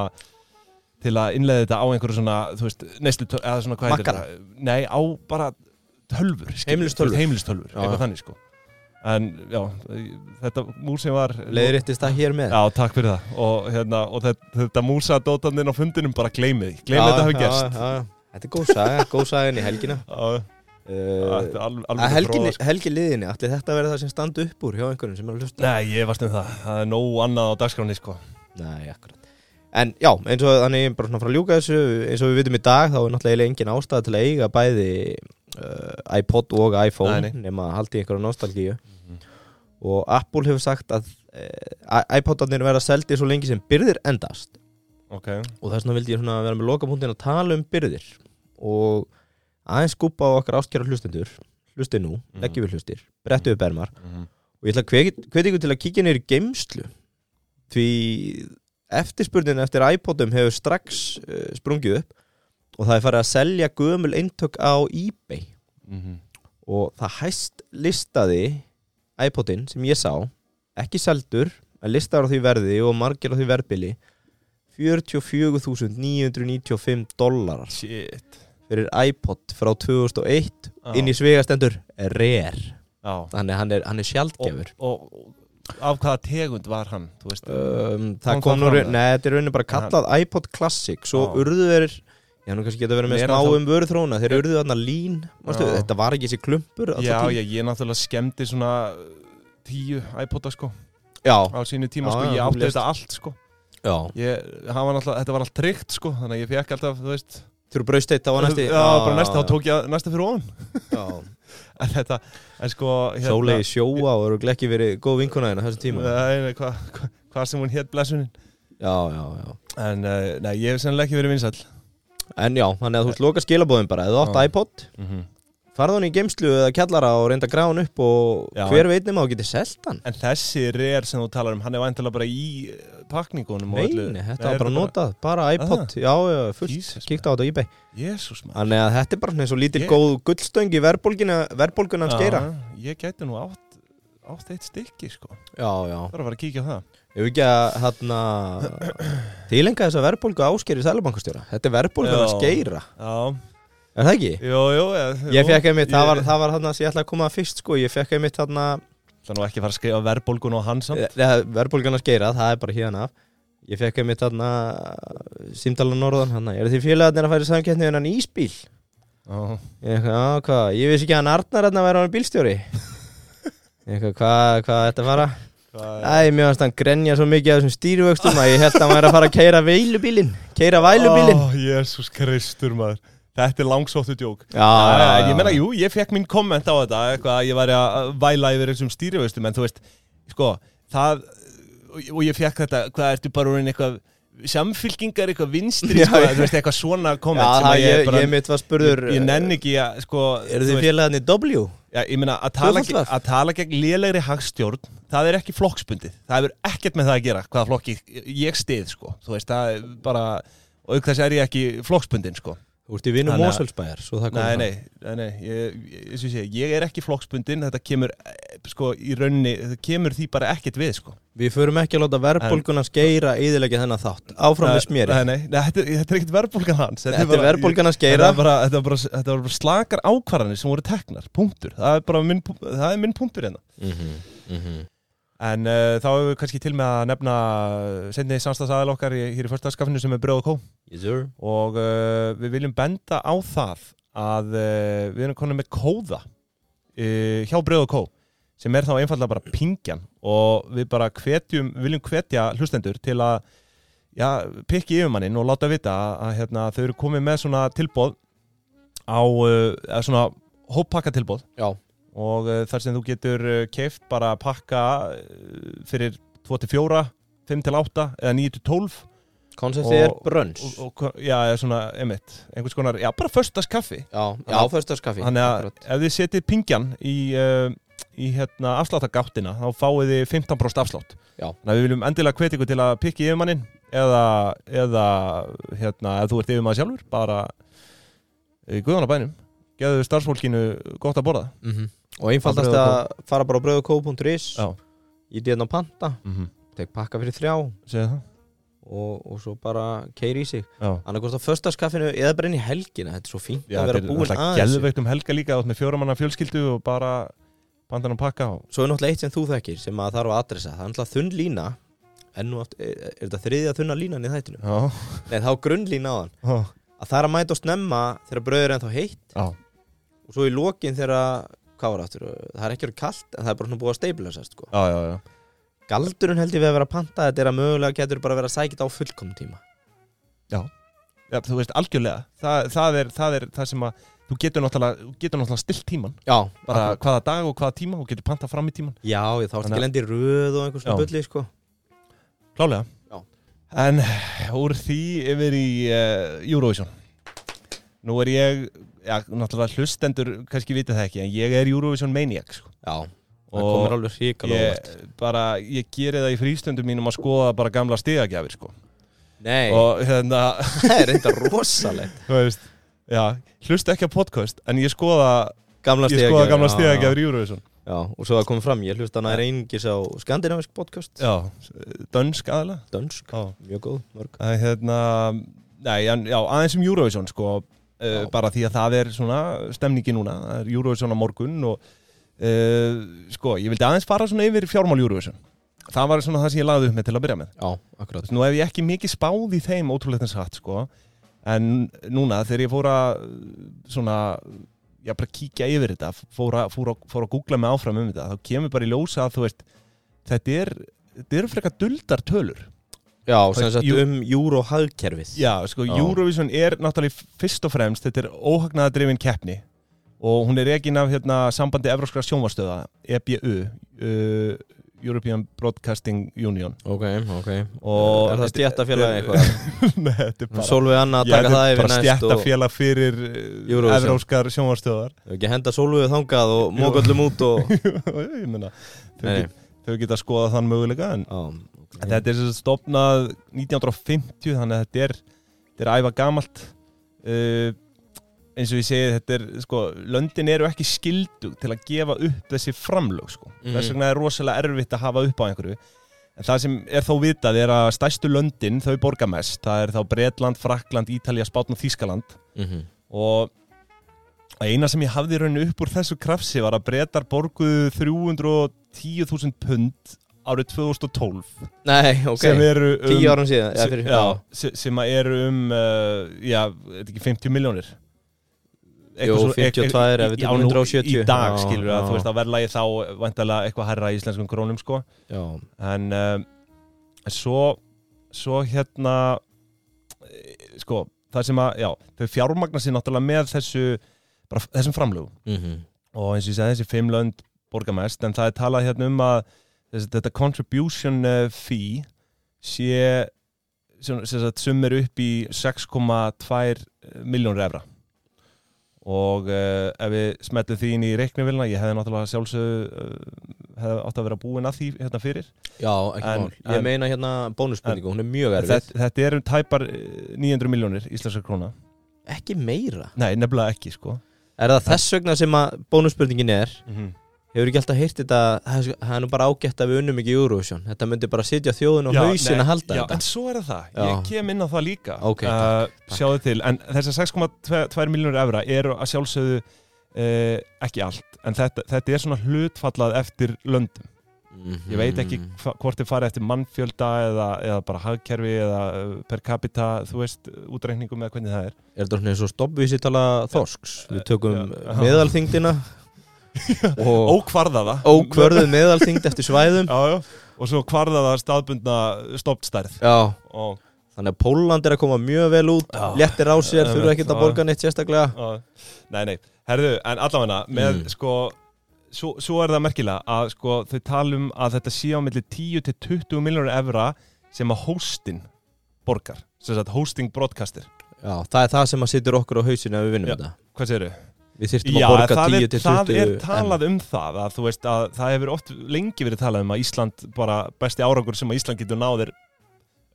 Speaker 1: til að innlega þetta á einhverju svona, þú veist, neyslu, eða svona hvað heitir
Speaker 2: Makkara?
Speaker 1: það? Nei, á bara tölfur.
Speaker 2: Heimilistölvur.
Speaker 1: Heimilistölfur,
Speaker 2: Já.
Speaker 1: eitthvað þannig sko. En já, þetta múr sem var...
Speaker 2: leiðréttist það hér með
Speaker 1: Já, takk fyrir það. Og, hérna, og þetta, þetta músadótandinn á fundinum bara gleymið því. Gleymið þetta hafi gerst.
Speaker 2: já, já. þetta er góð saga, góð saga inn í helgina
Speaker 1: Já,
Speaker 2: uh,
Speaker 1: Að
Speaker 2: að helgi,
Speaker 1: sko.
Speaker 2: helgi liðinni ætli þetta verið það sem standa upp úr hjá einhverjum sem er að hlusta
Speaker 1: Nei, ég varst um það. Það er nóg annað á dagskráni, sko.
Speaker 2: Nei, akkurat En já, eins og þannig bara svona frá að ljúka þessu eins og við vitum í dag þá er náttúrulega engin ástæða til að eiga bæði uh, iPod og iPhone
Speaker 1: Nei, Mhm. nei.
Speaker 2: nema að haldi einhverja nostalgíu og Apple hefur sagt að uh, iPodarnir verða seldi svo lengi sem byrðir endast
Speaker 1: Ok.
Speaker 2: og þess vegna vildi ég svona vera með lokapunktin að tala um byrðir og aðeins skúpa á okkar ástkjara hlustendur hlustið nú,
Speaker 1: Mhm.
Speaker 2: leggjum við hlustir, brettu við bermar
Speaker 1: Mm
Speaker 2: og ég ætla að hvetja ykkur til að kíkja niður í geimslu því eftirspurnin eftir iPodum hefur strax uh, sprungið upp og það er farið að selja gömul eintök á eBay Mhm.
Speaker 1: -hmm.
Speaker 2: og það hæst listaði iPodin sem ég sá ekki seldur, en listaður á því verði og margir á því verðbili 44.995 dólarar
Speaker 1: Shit.
Speaker 2: fyrir iPod frá 2001
Speaker 1: Já.
Speaker 2: inn í svegastendur rare
Speaker 1: Já.
Speaker 2: þannig hann er, hann er sjaldgefur
Speaker 1: Og, og af hvaða tegund var hann, þú veist?
Speaker 2: um,
Speaker 1: Kom
Speaker 2: það
Speaker 1: það
Speaker 2: kom nú,
Speaker 1: fram
Speaker 2: raun-
Speaker 1: það?
Speaker 2: nei, þetta er rauninni bara kallað iPod Classic, svo
Speaker 1: Já.
Speaker 2: urðu þeir já, nú kannski geta verið með
Speaker 1: En er
Speaker 2: smá
Speaker 1: hann þá-
Speaker 2: um vöruþróna þeir urðu þarna lín, mástu,
Speaker 1: Já.
Speaker 2: þetta var ekki þessi klumpur á
Speaker 1: já,
Speaker 2: það tíma.
Speaker 1: já, ég náttúrulega skemmdi svona uh, tíu iPod-a, sko.
Speaker 2: já,
Speaker 1: Á sínu tíma,
Speaker 2: Já,
Speaker 1: sko.
Speaker 2: já,
Speaker 1: Ég
Speaker 2: þú
Speaker 1: átti
Speaker 2: lést.
Speaker 1: þetta allt, sko.
Speaker 2: já,
Speaker 1: Ég, hann var náttúrulega, þetta var allt tryggt, sko. Þannig að ég fekk alltaf, þú veist.
Speaker 2: þú eru braust eitt á næsti
Speaker 1: Já, bara næsta, þá tók ég að- næsta fyrir ofan.
Speaker 2: tók
Speaker 1: En þetta, en sko...
Speaker 2: sólegi sjóa og eru ekki verið góð vinkona þín á þessum tíma já,
Speaker 1: Nei, nei, hvað hva, hva sem hún hétt blessunin.
Speaker 2: já, já
Speaker 1: En, uh, nei, ég hef sennilega ekki verið vinsall.
Speaker 2: en já, þannig að þú veist, loka skilabóðin bara ef þú átt
Speaker 1: Já.
Speaker 2: iPod,
Speaker 1: Mm -hmm.
Speaker 2: farð hann í geimslu eða kjallara og reynda að gráða hann upp og
Speaker 1: Já.
Speaker 2: hver veit nema þú getið selt hann
Speaker 1: En þessi rare sem þú talar um, hann er vantilega bara í eh, pakningunum og
Speaker 2: Nei,
Speaker 1: öllu.
Speaker 2: nei, þetta var bara notað, bara iPod, já, já, fullt,
Speaker 1: Jesus,
Speaker 2: kíkta á þetta á eBay
Speaker 1: Jésús maður.
Speaker 2: Þannig að þetta er bara svona eins og lítil
Speaker 1: Ég-
Speaker 2: góð gullstöng í verðbólgunan
Speaker 1: Já,
Speaker 2: skeira
Speaker 1: Ég gæti nú átt, átt eitt stykki, sko.
Speaker 2: Já, já
Speaker 1: Það er að fara að kíkja á það.
Speaker 2: Ef ekki að hann að tilengja þess að verðbólgu áskeri sælubankastjóra Þetta er verðbólgunan
Speaker 1: Já.
Speaker 2: skeira
Speaker 1: Já,
Speaker 2: Er það ekki?
Speaker 1: jú, jú.
Speaker 2: Ég fekk einmitt, það var,
Speaker 1: Ég-
Speaker 2: það var hann að ég ætla að koma að fyrst sko Ég fekk einmitt Eh, hann að
Speaker 1: Það er nú ekki að fara að skrifa verðbólgun og hans samt.
Speaker 2: verðbólgunan skeira, það er bara hérna af Ég fekk einmitt hann að símdala norðan hann Er þið félagarnir að færa samkettni en hann ísbíl?
Speaker 1: Já.
Speaker 2: Ég eitthvað, já, hvað, ég vissi ekki að hann Arnar hann að vera hann bílstjóri Ég eitthvað, hvað, hvað þetta fara?
Speaker 1: Hvað er-
Speaker 2: Æ, mér finnst hann grenja svo mikið af þessum stýruvöxtum að ég held að hann væri að fara að keira veilubílin Keira vælubílin
Speaker 1: Ó, Jésús Kristur, maður. Þetta er langsóttu djók. Já,
Speaker 2: Já, já, Ah, já.
Speaker 1: ég meina, jú, ég fekk minn komment á þetta eitthvað að ég væri að væla yfir þessum stýriveistum en þú veist, sko, það og og ég fekk þetta, hvað ertu bara orðin eitthvað samfylkingar, eitthvað vinstri
Speaker 2: Já,
Speaker 1: sko,
Speaker 2: já.
Speaker 1: þú veist, eitthvað svona
Speaker 2: Já,
Speaker 1: komment sem
Speaker 2: það,
Speaker 1: að
Speaker 2: ég,
Speaker 1: bara,
Speaker 2: ég mitt var spurður eh,
Speaker 1: ég nenni ekki að, sko
Speaker 2: Eru
Speaker 1: þú
Speaker 2: þið
Speaker 1: veist,
Speaker 2: félagarnir W?
Speaker 1: já, ég meina, að tala,
Speaker 2: Tvöfalt var?
Speaker 1: að tala gegn lélegri hagstjórn, það er ekki flokksbundið það hefur ekkert með það að gera, hvaða flokki ég stið, sko, þú veist, það er bara og auk þess er ég ekki flokksbundin, sko
Speaker 2: Þú ert í vinnu
Speaker 1: Þannig að-
Speaker 2: Mósölsbæjar, svo það kom
Speaker 1: Nei,
Speaker 2: fram.
Speaker 1: nei, nei, nei ég, ég, eins og ég, segi, ég er ekki flokksbundin þetta kemur eh, sko í raunni þetta kemur því bara ekkert við sko
Speaker 2: Við förum ekki að láta verðbólguna skeira eðilegja þennan þátt Áfram með sméri
Speaker 1: Nei, nei, nei þetta, er- þetta er ekkert verðbólgan hans
Speaker 2: Þetta er verðbólgana
Speaker 1: Þetta
Speaker 2: skeira
Speaker 1: var bara, þetta var bara, þetta var bara slakar ákvarðanir sem voru teknar, punktur það er bara minn, pu- það er minn punktur hérna
Speaker 2: Mhm,
Speaker 1: Mhm. En uh, þá hefur við kannski til með að nefna sendið samstagsaðal okkar í, hér í förstaskafinu sem er Bröð og Kó
Speaker 2: Yes sir
Speaker 1: og uh, við viljum benda á það að uh, við erum konar með kóða uh, hjá Bröð og Kó sem er þá einfallega bara pingjan og við bara hvetjum, viljum hvetja hlustendur til að já, pikki yfirmannin og láta vita að, að hérna, þau eru komið með svona tilbóð á, uh, eða svona hóppakka tilbóð
Speaker 2: Já,
Speaker 1: og uh, þar sem þú getur uh, keift bara pakka uh, fyrir 24, 5 til 8 eða 9 til 12
Speaker 2: konseptið er
Speaker 1: Og-
Speaker 2: brönns
Speaker 1: og, og, hva- já, eða svona, emitt, einhvers konar, já, bara föstaskaffi
Speaker 2: Já, já,
Speaker 1: Þannig-
Speaker 2: föstaskaffi
Speaker 1: Þannig að ef þið setið pingjan í, uh, í hérna, afsláttargáttina þá fáið þið 15% afslátt
Speaker 2: Já.
Speaker 1: Þannig að við viljum endilega hvetja ykkur til að pikki yfirmannin eða, eða hérna, ef þú ert yfirmann sjálfur, bara í guðanabænum geðu starfsfólkinu gott að borða
Speaker 2: Og einfaldast
Speaker 1: Mhm. Á
Speaker 2: að fara bara á bröðukó.is
Speaker 1: Já.
Speaker 2: Í dýðan hérna á panta,
Speaker 1: mm -hmm.
Speaker 2: tek pakka fyrir þrjá
Speaker 1: Segðu það?
Speaker 2: og, og svo bara keiri í sig
Speaker 1: Já
Speaker 2: annarkvort á föstaskaffinu eða bara inn í helgina þetta er svo fínt
Speaker 1: Já, þetta
Speaker 2: að vera
Speaker 1: er
Speaker 2: búin
Speaker 1: náttúrulega
Speaker 2: aðeins
Speaker 1: geðveikt um helga líka átt með fjóramanna fjölskyldu og bara bandan að pakka á
Speaker 2: svo er náttúrulega eitt sem þú þekkir sem að þarf að adressa það er náttúrulega þunn lína en nú aftur, er, er þetta þriðja þunna línan í þættinum
Speaker 1: Já,
Speaker 2: nei þá grunnlína á þann
Speaker 1: já,
Speaker 2: að það er að mæta og snemma þegar bröður er ennþá heitt
Speaker 1: já,
Speaker 2: og og svo í lokin þegar hvað var aftur, það er ekki verið kalt en það er bara svona búið að stabilisast sko.
Speaker 1: Já, já, já
Speaker 2: galdurinn held ég við að vera að panta þetta er að mögulega getur bara að vera að sækja þetta á fullkom tíma
Speaker 1: Já, þú veist, algjörlega, það, það, er, það er það sem að þú getur náttúrulega, þú getur náttúrulega stilt tíman,
Speaker 2: já,
Speaker 1: bara
Speaker 2: akkurat.
Speaker 1: hvaða dag og hvaða tíma og getur pantað fram í tíman,
Speaker 2: já, ég- þá ertu
Speaker 1: Þannig að-
Speaker 2: ekki lendi röð og einhver svona
Speaker 1: Já.
Speaker 2: bulli sko.
Speaker 1: klálega
Speaker 2: Já.
Speaker 1: En úr því yfir í uh, Eurovision Nú er ég, já, náttúrulega hlustendur kannski vita það ekki, en ég er Eurovision maniac sko.
Speaker 2: já, það
Speaker 1: Og
Speaker 2: komir alveg ríkala
Speaker 1: ég, bara, ég geri það í frístundum mínum að skoða bara gamla stigagjafir sko.
Speaker 2: nei,
Speaker 1: og hérna,
Speaker 2: það er reynda rosalegt
Speaker 1: þú veist Já, hlusta ekki á podcast, en ég skoða,
Speaker 2: gamla
Speaker 1: ég skoða
Speaker 2: stigagjafir,
Speaker 1: gamla
Speaker 2: já,
Speaker 1: stigagjafir í Eurovision
Speaker 2: já, og svo að koma fram, ég hlust að það er einingis á skandinavisk podcast,
Speaker 1: Já, dönsk aðalega
Speaker 2: dönsk
Speaker 1: Já,
Speaker 2: mjög góð, mörg
Speaker 1: það er hérna Nei, en, já, aðeins um Eurovision sko uh,
Speaker 2: Já.
Speaker 1: bara því að það er svona stemningi núna, það er Eurovision á morgun og uh, sko, ég vildi aðeins fara svona yfir fjármál Eurovision Það var svona það sem ég lagði upp með til að byrja með
Speaker 2: já, akkurat
Speaker 1: Nú hef ég ekki mikið spáð í þeim ótrúlegt en satt sko en núna þegar ég fór að uh, svona já, bara kíkja yfir þetta fór að, fór að, fór að googla mig áfram um þetta þá kemur bara í ljósa að þú veist þetta er, þetta eru frekar duldar tölur
Speaker 2: Já, sem sagt
Speaker 1: Jú-
Speaker 2: um júróhagkerfið
Speaker 1: Já, sko,
Speaker 2: Já.
Speaker 1: Eurovision er náttúrulega fyrst og fremst, þetta er óhagnaðadrifin keppni og hún er rekin af hérna, sambandi Evróskra sjónvarstöða, EBU, uh, European Broadcasting Union.
Speaker 2: Ok, ok
Speaker 1: Og-
Speaker 2: Er það stjættafélag eitthvað?
Speaker 1: Nei, þetta er bara,
Speaker 2: Solveig Anna að
Speaker 1: Já,
Speaker 2: taka
Speaker 1: þetta
Speaker 2: það
Speaker 1: er
Speaker 2: yfir
Speaker 1: bara
Speaker 2: næst og
Speaker 1: stjættafélag fyrir uh,
Speaker 2: Eurovision.
Speaker 1: Evróskar sjónvarstöðar.
Speaker 2: Ef ekki henda Solveig þangað og mókallum út og
Speaker 1: Ég meina, þau,
Speaker 2: Nei, nei.
Speaker 1: get, þau geta að skoða þann möguleika en
Speaker 2: Já,
Speaker 1: En Þetta er sem sagt stofnað 1950 þannig að þetta er, þetta er æfa gamalt uh, eins og ég segi þetta er sko, löndin eru ekki skildug til að gefa upp þessi framlög sko.
Speaker 2: Mhm.
Speaker 1: þess vegna er rosalega erfitt að hafa upp á einhverju en það sem er þó vitað er að stærstu löndin þau borga mest það er þá Bretland, Frakland, Ítalja, Spátn og Þískaland
Speaker 2: Mhm. og
Speaker 1: og eina sem ég hafði raun upp úr þessu krafsi var að Bretar borguðu 310.000 pund árið 2012
Speaker 2: Nei, ok
Speaker 1: sem eru um,
Speaker 2: Tíu árum síðan eða
Speaker 1: sem,
Speaker 2: fyrir-
Speaker 1: já, se- sem að eru um uh, já, þetta ekki 50 miljónir
Speaker 2: Jú, 52 ef þetta er 170.
Speaker 1: í dag
Speaker 2: Já,
Speaker 1: skilur
Speaker 2: já.
Speaker 1: að þú veist að verðlagi þá vantalega eitthvað herra í íslenskum krónum sko
Speaker 2: já,
Speaker 1: en uh, svo svo hérna eh, sko það sem að já, þau fjármagna sér náttúrulega með þessu bara, f- þessum framlögum
Speaker 2: mhm.
Speaker 1: og eins og ég segi þessi fimm lönd borga mest en það er talað hérna um að þess, þetta contribution eh, fee sé sem, sem sagt, sumir upp í 6,2 miljónur evra og uh, ef við smetlum því inn í reiknivilna ég hefði náttúrulega sjálfsög uh, hefði átt að vera búin að því hérna fyrir
Speaker 2: já, ekki
Speaker 1: En-
Speaker 2: mál Ég
Speaker 1: en-
Speaker 2: meina hérna bónusspurningu, hún er mjög erfið
Speaker 1: þetta, þetta eru tæpar eh, 900 miljónir íslenska króna
Speaker 2: Ekki meira
Speaker 1: nei, nefnilega ekki sko
Speaker 2: Er það þess vegna sem að bónusspurningin er
Speaker 1: Mhm.
Speaker 2: Hefur ekki alltaf heyrt þetta Það er- það er nú bara ágætt að við unnum ekki í Eurovision Þetta myndi bara sitja þjóðin og
Speaker 1: Já,
Speaker 2: hausin
Speaker 1: nei,
Speaker 2: að halda
Speaker 1: já,
Speaker 2: þetta
Speaker 1: En svo er það,
Speaker 2: Já.
Speaker 1: ég kem inn á það líka
Speaker 2: Ok,
Speaker 1: uh, Sjáðu til, en þessar 6,2 miljónur evra eru að sjálfsögðu uh, ekki allt En þetta, þetta er svona hlutfallað eftir löndum Ég veit ekki
Speaker 2: Mhm.
Speaker 1: hva, hvort þið farið eftir mannfjölda eða, eða bara hagkerfi eða eh, per capita, þú veist, útreikningum eða hvernig það er
Speaker 2: Er þetta svona eins og stoppvísitala þorsks? Við tökum
Speaker 1: Já.
Speaker 2: meðalþyngdina og
Speaker 1: Ókvarðaða
Speaker 2: ókvörðuð meðalþyngd eftir svæðum
Speaker 1: Já, já, og svo kvarðaða staðbundna stopstærð
Speaker 2: Já,
Speaker 1: og,
Speaker 2: þannig að Póland er að koma mjög vel út
Speaker 1: Já.
Speaker 2: léttir á sér,
Speaker 1: Einmitt,
Speaker 2: þurfa ekkert að
Speaker 1: já.
Speaker 2: borga neitt sérstaklega
Speaker 1: Já, Nei, nei, herðu, en allavegna með
Speaker 2: Mm.
Speaker 1: sko svo, svo er það merkilega að sko þau talum að þetta sé á milli 10 til 20 miljónur evra sem að hostin borgar, sem sagt hosting broadcaster
Speaker 2: Já, það er það sem að sittur okkur á hausinu ef við vinnum
Speaker 1: Já.
Speaker 2: þetta
Speaker 1: Hvað segirðu?
Speaker 2: Við þyrftum að borga
Speaker 1: það,
Speaker 2: 10
Speaker 1: er,
Speaker 2: til
Speaker 1: það
Speaker 2: 20
Speaker 1: er
Speaker 2: en-
Speaker 1: talað um það að þú veist að það hefur oft lengi verið talað um að Ísland bara besti árangur sem að Ísland getur náðir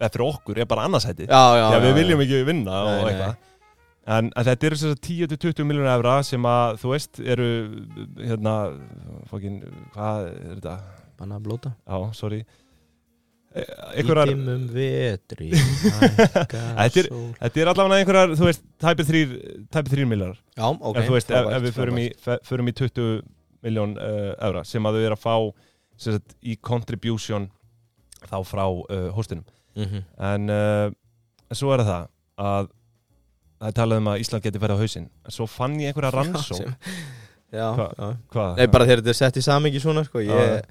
Speaker 1: eða fyrir okkur er bara annarsæti
Speaker 2: Já, já,
Speaker 1: Já,
Speaker 2: já,
Speaker 1: við
Speaker 2: já.
Speaker 1: viljum ekki vinna
Speaker 2: Nei,
Speaker 1: og
Speaker 2: nei.
Speaker 1: eitthvað En, en þetta eru sem sagt 10-20 miljónu evra sem að, þú veist, eru hérna, fókin, hvað er þetta?
Speaker 2: Banna að blóta
Speaker 1: Já, sorry E- Einhverjar,
Speaker 2: Einhverar... Ítimum vetri hækkar
Speaker 1: Þetta er-
Speaker 2: sól.
Speaker 1: þetta er allavega einhverjar, þú veist, tæpið þrýr, tæpið þrýr miljónar
Speaker 2: Já, ok
Speaker 1: En þú veist, ef,
Speaker 2: frábært,
Speaker 1: ef við förum í, fe- förum í 20 miljón uh, evra sem að þau eru að fá, sem sagt, í contribution þá frá uh, hóstinum
Speaker 2: frábært. Mhm.
Speaker 1: en uh, svo er það að það það er talað um að Ísland geti verið á hausinn en svo fann ég einhverja rannsó
Speaker 2: sem- Já,
Speaker 1: Hva-
Speaker 2: já.
Speaker 1: hvað,
Speaker 2: Nei, bara þegar þetta er sett í samengi svona sko,
Speaker 1: Já,
Speaker 2: ég,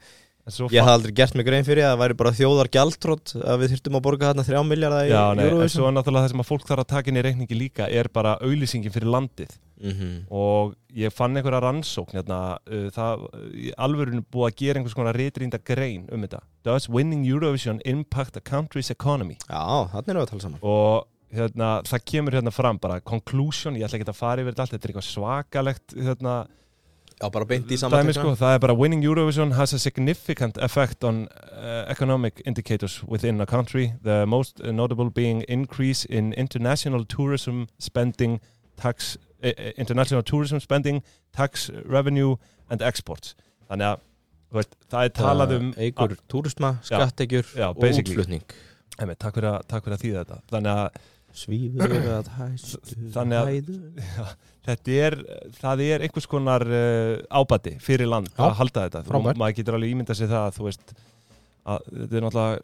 Speaker 1: En svo
Speaker 2: ég
Speaker 1: fann-
Speaker 2: hafði aldrei gert mig grein fyrir að það væri bara þjóðar gjaldtrótt að við þyrftum að borga þarna 3 miljardar í
Speaker 1: Já, nei, en
Speaker 2: Eurovision
Speaker 1: svo er náttúrulega það sem að fólk þarf að taka inn í reikningi líka er bara auðlýsingin fyrir landið
Speaker 2: Mhm.
Speaker 1: og ég fann einhverja rannsókn hérna, uh, það uh, í alvörinu búið að gera einhvers konar ritrýnda grein um þetta Does winning Eurovision impact a country's economy?
Speaker 2: Já, þannig erum við að tala saman
Speaker 1: Og hérna, það kemur hérna fram bara conclusion, ég ætla ekki að fara yfir þetta allt þetta er eitthvað svakalegt hérna,
Speaker 2: Já, bara beint í
Speaker 1: dæmi
Speaker 2: samantekna
Speaker 1: sko, það er bara winning Eurovision has a significant effect on uh, economic indicators within a country the most notable being increase in international tourism spending tax, uh, international tourism spending tax revenue and exports þannig að þú veist, það er talað um
Speaker 2: Eigur túrisma,
Speaker 1: Já.
Speaker 2: skattekjur
Speaker 1: Já,
Speaker 2: og
Speaker 1: basically.
Speaker 2: útflutning
Speaker 1: emi, takk, fyrir að, takk fyrir að þýða þetta þannig að
Speaker 2: Svífur að hæstu
Speaker 1: Þannig að-
Speaker 2: hæðu
Speaker 1: þetta er, það er einhvers konar uh, ábati fyrir land
Speaker 2: Já,
Speaker 1: að halda þetta Þú-
Speaker 2: frábært.
Speaker 1: maður getur alveg ímyndað sér það þú veist, að þetta er náttúrulega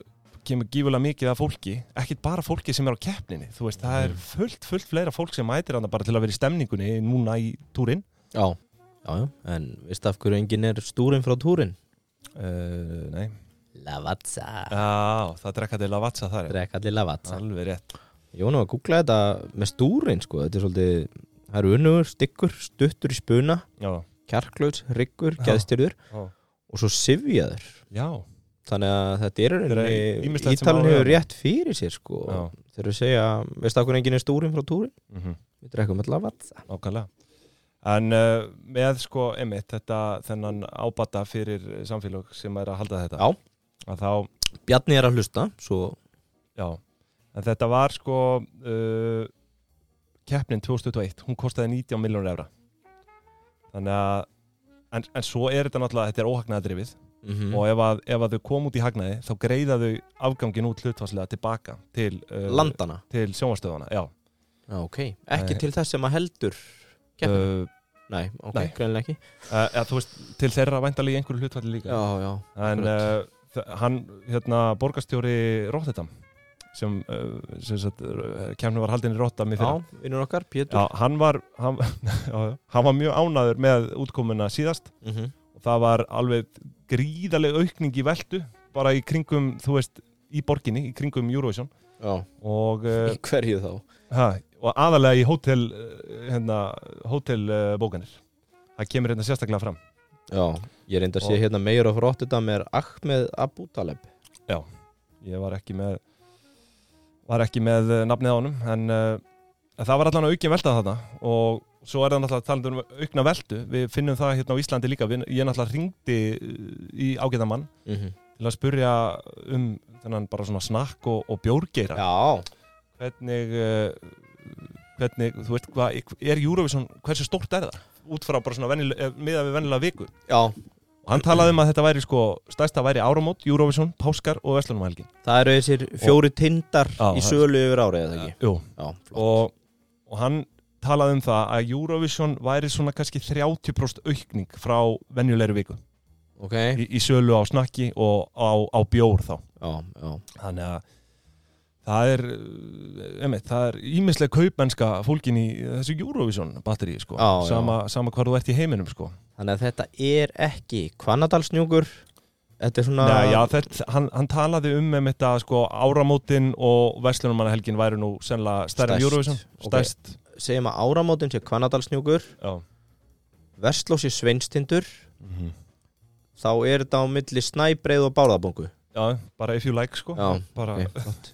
Speaker 1: kemur gífulega mikið af fólki ekkit bara fólki sem er á keppninni þú veist, það er fullt, fullt fleira fólk sem mætir hann bara til að vera í stemningunni núna í túrin
Speaker 2: Já, já, já, en veist af hverju enginn er stúrin frá túrin?
Speaker 1: uh, nei,
Speaker 2: Lavazza
Speaker 1: já, það drekka til að vatsa þar já.
Speaker 2: Drekk allir Lavazza
Speaker 1: alveg rétt
Speaker 2: Jón var að googla þetta með stúrin sko, þetta er svolítið Það eru unnugur, stykkur, stuttur í spuna
Speaker 1: já,
Speaker 2: kjarklaus, riggur,
Speaker 1: Já.
Speaker 2: gæðstyrður
Speaker 1: já,
Speaker 2: og svo sifjaður
Speaker 1: já.
Speaker 2: þannig að þetta er
Speaker 1: Þetta er
Speaker 2: einni
Speaker 1: ýmislegt sem á
Speaker 2: Ítalinn
Speaker 1: að
Speaker 2: hefur
Speaker 1: vera.
Speaker 2: rétt fyrir sér sko
Speaker 1: já.
Speaker 2: þeir eru að segja, veist af hverju enginn er stúrin frá túrin?
Speaker 1: Mm
Speaker 2: Við drekkum allir Lavazza
Speaker 1: Nákvæmlega. En uh, með sko, emitt, þetta, þennan ábata fyrir samfélag sem er að halda þetta.
Speaker 2: Já.
Speaker 1: Að þá,
Speaker 2: Bjarni er að hlusta, svo
Speaker 1: já. En þetta var sko, uh, keppnin 2021, hún kostaði 19 miljónur evra. Þannig að, en, en svo er þetta náttúrulega, þetta er óhagnaðadrifið
Speaker 2: mm
Speaker 1: og ef að, ef að þau kom út í hagnaði, þá greiða þau afgangin út hlutfarslega tilbaka til, uh,
Speaker 2: landana
Speaker 1: til sjónvarstöðana. Já, Eh,
Speaker 2: Já, ok. Ekki
Speaker 1: Nei.
Speaker 2: til þess sem að heldur keppnum?
Speaker 1: uh,
Speaker 2: Nei, ok,
Speaker 1: nei.
Speaker 2: greinilega ekki.
Speaker 1: uh, eða, þú veist, til þeirra væntalegi einhverju hlutfalli líka.
Speaker 2: Já, já.
Speaker 1: en
Speaker 2: Akkurat.
Speaker 1: uh, hann, hérna, borgarstjóri Róttetam sem, uh, sem sagt, uh, kemni var haldin í Róttam í
Speaker 2: Já,
Speaker 1: fyrra
Speaker 2: vinnur okkar, Pétur.
Speaker 1: já, hann var hann, já, já, hann var mjög ánaður með útkomuna síðast
Speaker 2: Mm
Speaker 1: og það var alveg gríðaleg aukning í veltu bara í kringum, þú veist, í borginni í kringum Eurovision
Speaker 2: já.
Speaker 1: og, uh,
Speaker 2: Í hverju þá?
Speaker 1: ha, og aðalega í hótel uh, hérna, hótelbókanir það kemur hérna sérstaklega fram
Speaker 2: Já, ég reyndi að sé
Speaker 1: Og-
Speaker 2: hérna meir af Rotterdam er Ahmed Abu Taleb.
Speaker 1: ég var ekki með var ekki með eh, nafnið á honum en uh, það var allan aukin velta þarna og svo er það náttúrulega talandi um aukna veltu við finnum það hérna á Íslandi líka við, ég náttúrulega ringdi í ágæðan mann
Speaker 2: Mm
Speaker 1: til að spurja um þennan bara svona snakk og, og bjórgeira
Speaker 2: Já,
Speaker 1: hvernig uh, hvernig, þú veist hvað er Eurovision, hversu stórt er það út frá bara svona venjuleg, miða við vennilega viku
Speaker 2: já.
Speaker 1: og hann talaði um að þetta væri sko stærsta væri áramót, Eurovision, Páskar og Vestlunumælgin
Speaker 2: Það eru þessir fjóri tindar
Speaker 1: Já,
Speaker 2: í
Speaker 1: það-
Speaker 2: sölu yfir árið, eða ekki?
Speaker 1: Jú,
Speaker 2: Já, flott.
Speaker 1: og, og hann talaði um það að Eurovision væri svona kannski 30% aukning frá venjulegri viku
Speaker 2: Ok,
Speaker 1: í, í sölu á snakki og á, á bjór þá
Speaker 2: já, já.
Speaker 1: þannig að það er, uh, einmitt, það er ímislega kaupmennska fólkin í þessu Eurovision batteri sko,
Speaker 2: Já, já.
Speaker 1: sama, sama hvar þú ert í heiminum sko.
Speaker 2: Þannig að þetta er ekki Hvannadalsnjúkur, þetta er svona...
Speaker 1: Nei, já, þetta, hann, hann talaði um um þetta sko, áramótin og verslunumannahelgin væri nú sennilega stærri
Speaker 2: Stærst,
Speaker 1: en Eurovision
Speaker 2: ok.
Speaker 1: stærst,
Speaker 2: Segjum að áramótin sé Hvannadalsnjúkur,
Speaker 1: já
Speaker 2: Vestlósi Sveinstindur,
Speaker 1: mm
Speaker 2: þá er þetta á milli snæbreið og bárðabungu
Speaker 1: já, bara if you like sko
Speaker 2: Já,
Speaker 1: bara,
Speaker 2: Ok, flott.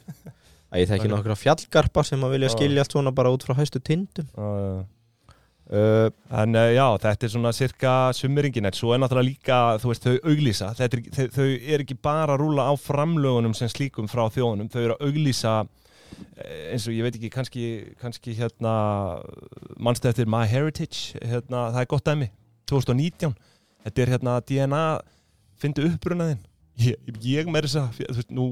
Speaker 2: Æ, ég þekki
Speaker 1: Ok.
Speaker 2: nokkra fjallgarpa sem að vilja
Speaker 1: Já.
Speaker 2: skilja allt svona bara út frá hæstu tindum
Speaker 1: okay.
Speaker 2: uh,
Speaker 1: En uh, já, þetta er svona cirka summeringin en svo er náttúrulega líka, þú veist, þau auglýsa Þetta er, þau, þau er ekki bara að rúla á framlögunum sem slíkum frá þjóðunum þau eru að auglýsa eh, eins og ég veit ekki, kannski, kannski hérna, mannstu eftir My Heritage hérna, það er gott dæmi 2019, þetta er hérna DNA, fyndu upprunaðinn ég, ég meiri þess að, þú veist, nú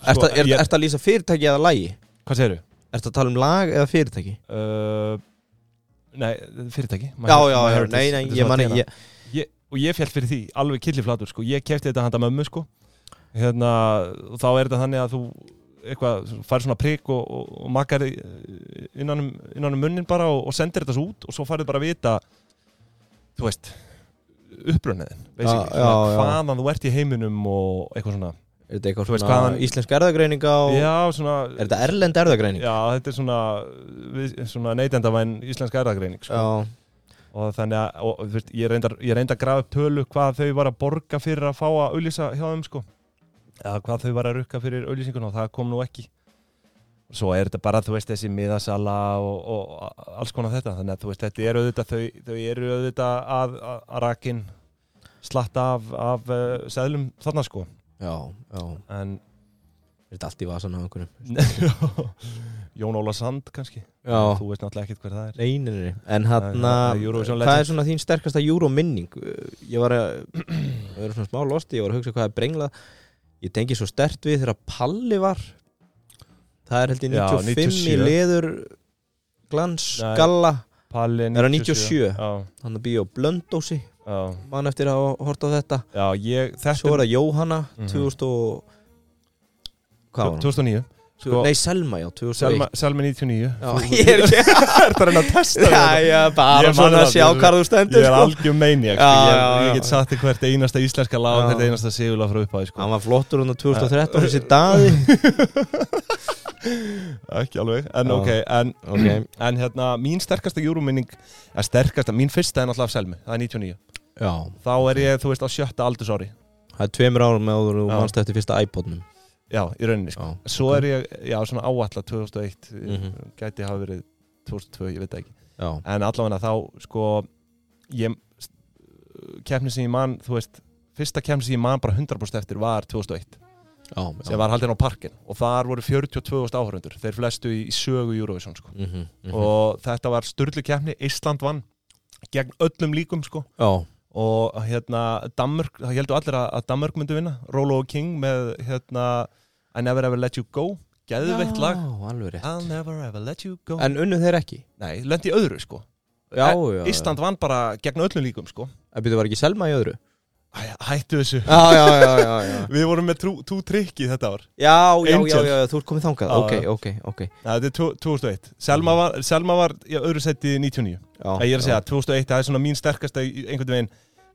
Speaker 2: Ertu að- er,
Speaker 1: Sko, ég,
Speaker 2: ertu að lýsa fyrirtæki eða lagi?
Speaker 1: Hvað segirðu?
Speaker 2: Ertu að tala um lag eða fyrirtæki?
Speaker 1: Uh, nei, fyrirtæki My
Speaker 2: já,
Speaker 1: Her- My
Speaker 2: já, já,
Speaker 1: Heritage,
Speaker 2: nei,
Speaker 1: þetta
Speaker 2: nei,
Speaker 1: er
Speaker 2: ég
Speaker 1: svona
Speaker 2: manni
Speaker 1: DNA.
Speaker 2: ég,
Speaker 1: ég, og ég fjall fyrir því alveg killiflatur sko, ég kefti þetta handa mömmu sko hérna, og þá er þetta þannig að þú eitthvað, færið svona prik og, og, og makar í- innan um, innan um munnin bara og, og sendir þetta svo út og svo færið bara að vita þú veist upprunniðin,
Speaker 2: Já,
Speaker 1: basically,
Speaker 2: já,
Speaker 1: svona
Speaker 2: já.
Speaker 1: hvaðan þú ert í heiminum og eitthvað svona
Speaker 2: Er þetta eitthvað
Speaker 1: Þú veist
Speaker 2: svona
Speaker 1: hvaðan-
Speaker 2: íslensk erðagreininga og...
Speaker 1: já, svona,
Speaker 2: Er þetta erlend erðagreining?
Speaker 1: já, þetta er svona, við- svona neytendavæn íslensk erðagreining sko.
Speaker 2: Já,
Speaker 1: og þannig að og, þú veist, ég reyndar ég reyndar að grafa upp tölu hvað þau var að borga fyrir að fá að auðlýsa hjá þeim sko eða hvað þau var að rukka fyrir auðlýsinguna og það kom nú ekki svo er þetta bara þú veist þessi miðasala og, og alls konar þetta þannig að þú veist þetta eru auðvitað þau, þau eru auðvitað að, að, að rakin slatta af, af uh, seðlum þarna sko
Speaker 2: já, já.
Speaker 1: en
Speaker 2: Er þetta allt í vasan á einhvernum?
Speaker 1: Jón Óla Sand kannski
Speaker 2: Já.
Speaker 1: þú veist náttúrulega ekkert hver það er
Speaker 2: Nei, nei, nei. En
Speaker 1: Nei,
Speaker 2: hann
Speaker 1: það er Eurovision
Speaker 2: Hvað
Speaker 1: legend.
Speaker 2: er svona þín sterkasta júróminning? Ég var að Við erum svona smá losti Ég var að hugsa hvað er brenglað Ég tengi svo stert við þegar Palli var Það er held ég
Speaker 1: Já,
Speaker 2: 95
Speaker 1: 97.
Speaker 2: í leður Glans,
Speaker 1: Nei.
Speaker 2: galla
Speaker 1: Palli
Speaker 2: Er það
Speaker 1: 97
Speaker 2: 97?
Speaker 1: já,
Speaker 2: Hann að býja á Blöndósi
Speaker 1: já,
Speaker 2: Man eftir að horta á þetta
Speaker 1: já, ég, þetta
Speaker 2: Svo er það Jóhanna
Speaker 1: Mhm.
Speaker 2: 2000 og Hvað var hann?
Speaker 1: 2009 sko-
Speaker 2: Nei, Selma, já, 2001
Speaker 1: Selma, Selma 99
Speaker 2: Já, ég er ekki
Speaker 1: Það er hann að testa
Speaker 2: Já,
Speaker 1: þetta
Speaker 2: já,
Speaker 1: Ég
Speaker 2: bara
Speaker 1: man
Speaker 2: svona
Speaker 1: það,
Speaker 2: að sjá
Speaker 1: þú-
Speaker 2: hvað þú
Speaker 1: Ég
Speaker 2: stendur
Speaker 1: er
Speaker 2: sko.
Speaker 1: algjör meini
Speaker 2: Já,
Speaker 1: ég,
Speaker 2: já,
Speaker 1: ég
Speaker 2: já.
Speaker 1: get sagt þér hvert einasta íslenska lag
Speaker 2: Já.
Speaker 1: Hvert einasta sigula frá upphæði sko.
Speaker 2: Hann var flottur hún á 2013 þessi daði
Speaker 1: Ekki alveg En
Speaker 2: Já.
Speaker 1: ok, en,
Speaker 2: Ok.
Speaker 1: en hérna Mín sterkasta júruminning ja, Sterkasta, mín fyrsta er náttúrulega af Selmi Það er 99
Speaker 2: Já,
Speaker 1: Þá er ég, þú veist, á sjötta aldursári
Speaker 2: það er tveimur árum með áður og
Speaker 1: Já.
Speaker 2: mannstu eftir fyrsta iPodnum
Speaker 1: Já, í rauninni sko.
Speaker 2: Já,
Speaker 1: Svo er ég, já, svona áallat 2001
Speaker 2: Mhm.
Speaker 1: Gæti hafa verið 2002, ég veit það ekki
Speaker 2: já,
Speaker 1: en allavega þá sko ég keppni sem ég man þú veist, fyrsta keppni sem ég man bara 100% eftir var 2001
Speaker 2: já,
Speaker 1: sem var haldin á parkin og þar voru 42.000 áhörundur þeir flestu í, í sögu Eurovision sko.
Speaker 2: mm -hmm,
Speaker 1: og þetta var styrlu keppni Ísland vann gegn öllum líkum sko
Speaker 2: já,
Speaker 1: og hérna Danmörk, það heldur allir að, að Danmörk myndi vinna Rolo King með hérna I never ever let you go geðveikt lag
Speaker 2: Já, alveg rétt
Speaker 1: I'll never ever let you go
Speaker 2: En unnu þeir ekki E-
Speaker 1: Nei, lendi öðru sko
Speaker 2: Já,
Speaker 1: En
Speaker 2: já, já.
Speaker 1: Ísland vann bara gegn öllum líkum sko
Speaker 2: Það byrðu Eh, var ekki Selma í öðru
Speaker 1: Æ, Hættu þessu
Speaker 2: Já, já, já, já Já,
Speaker 1: Við vorum með trú, trú trikki þetta ár
Speaker 2: já, já,
Speaker 1: Angel.
Speaker 2: já, já, þú ert komið þangað
Speaker 1: Já,
Speaker 2: Ok,
Speaker 1: já.
Speaker 2: ok, ok
Speaker 1: Nei, þetta er tvo- 2001 Selma var, Selma var í öðru seti 99
Speaker 2: já,
Speaker 1: Ég er að segja 2001, það er svona mín sterkasta í- einhvern veginn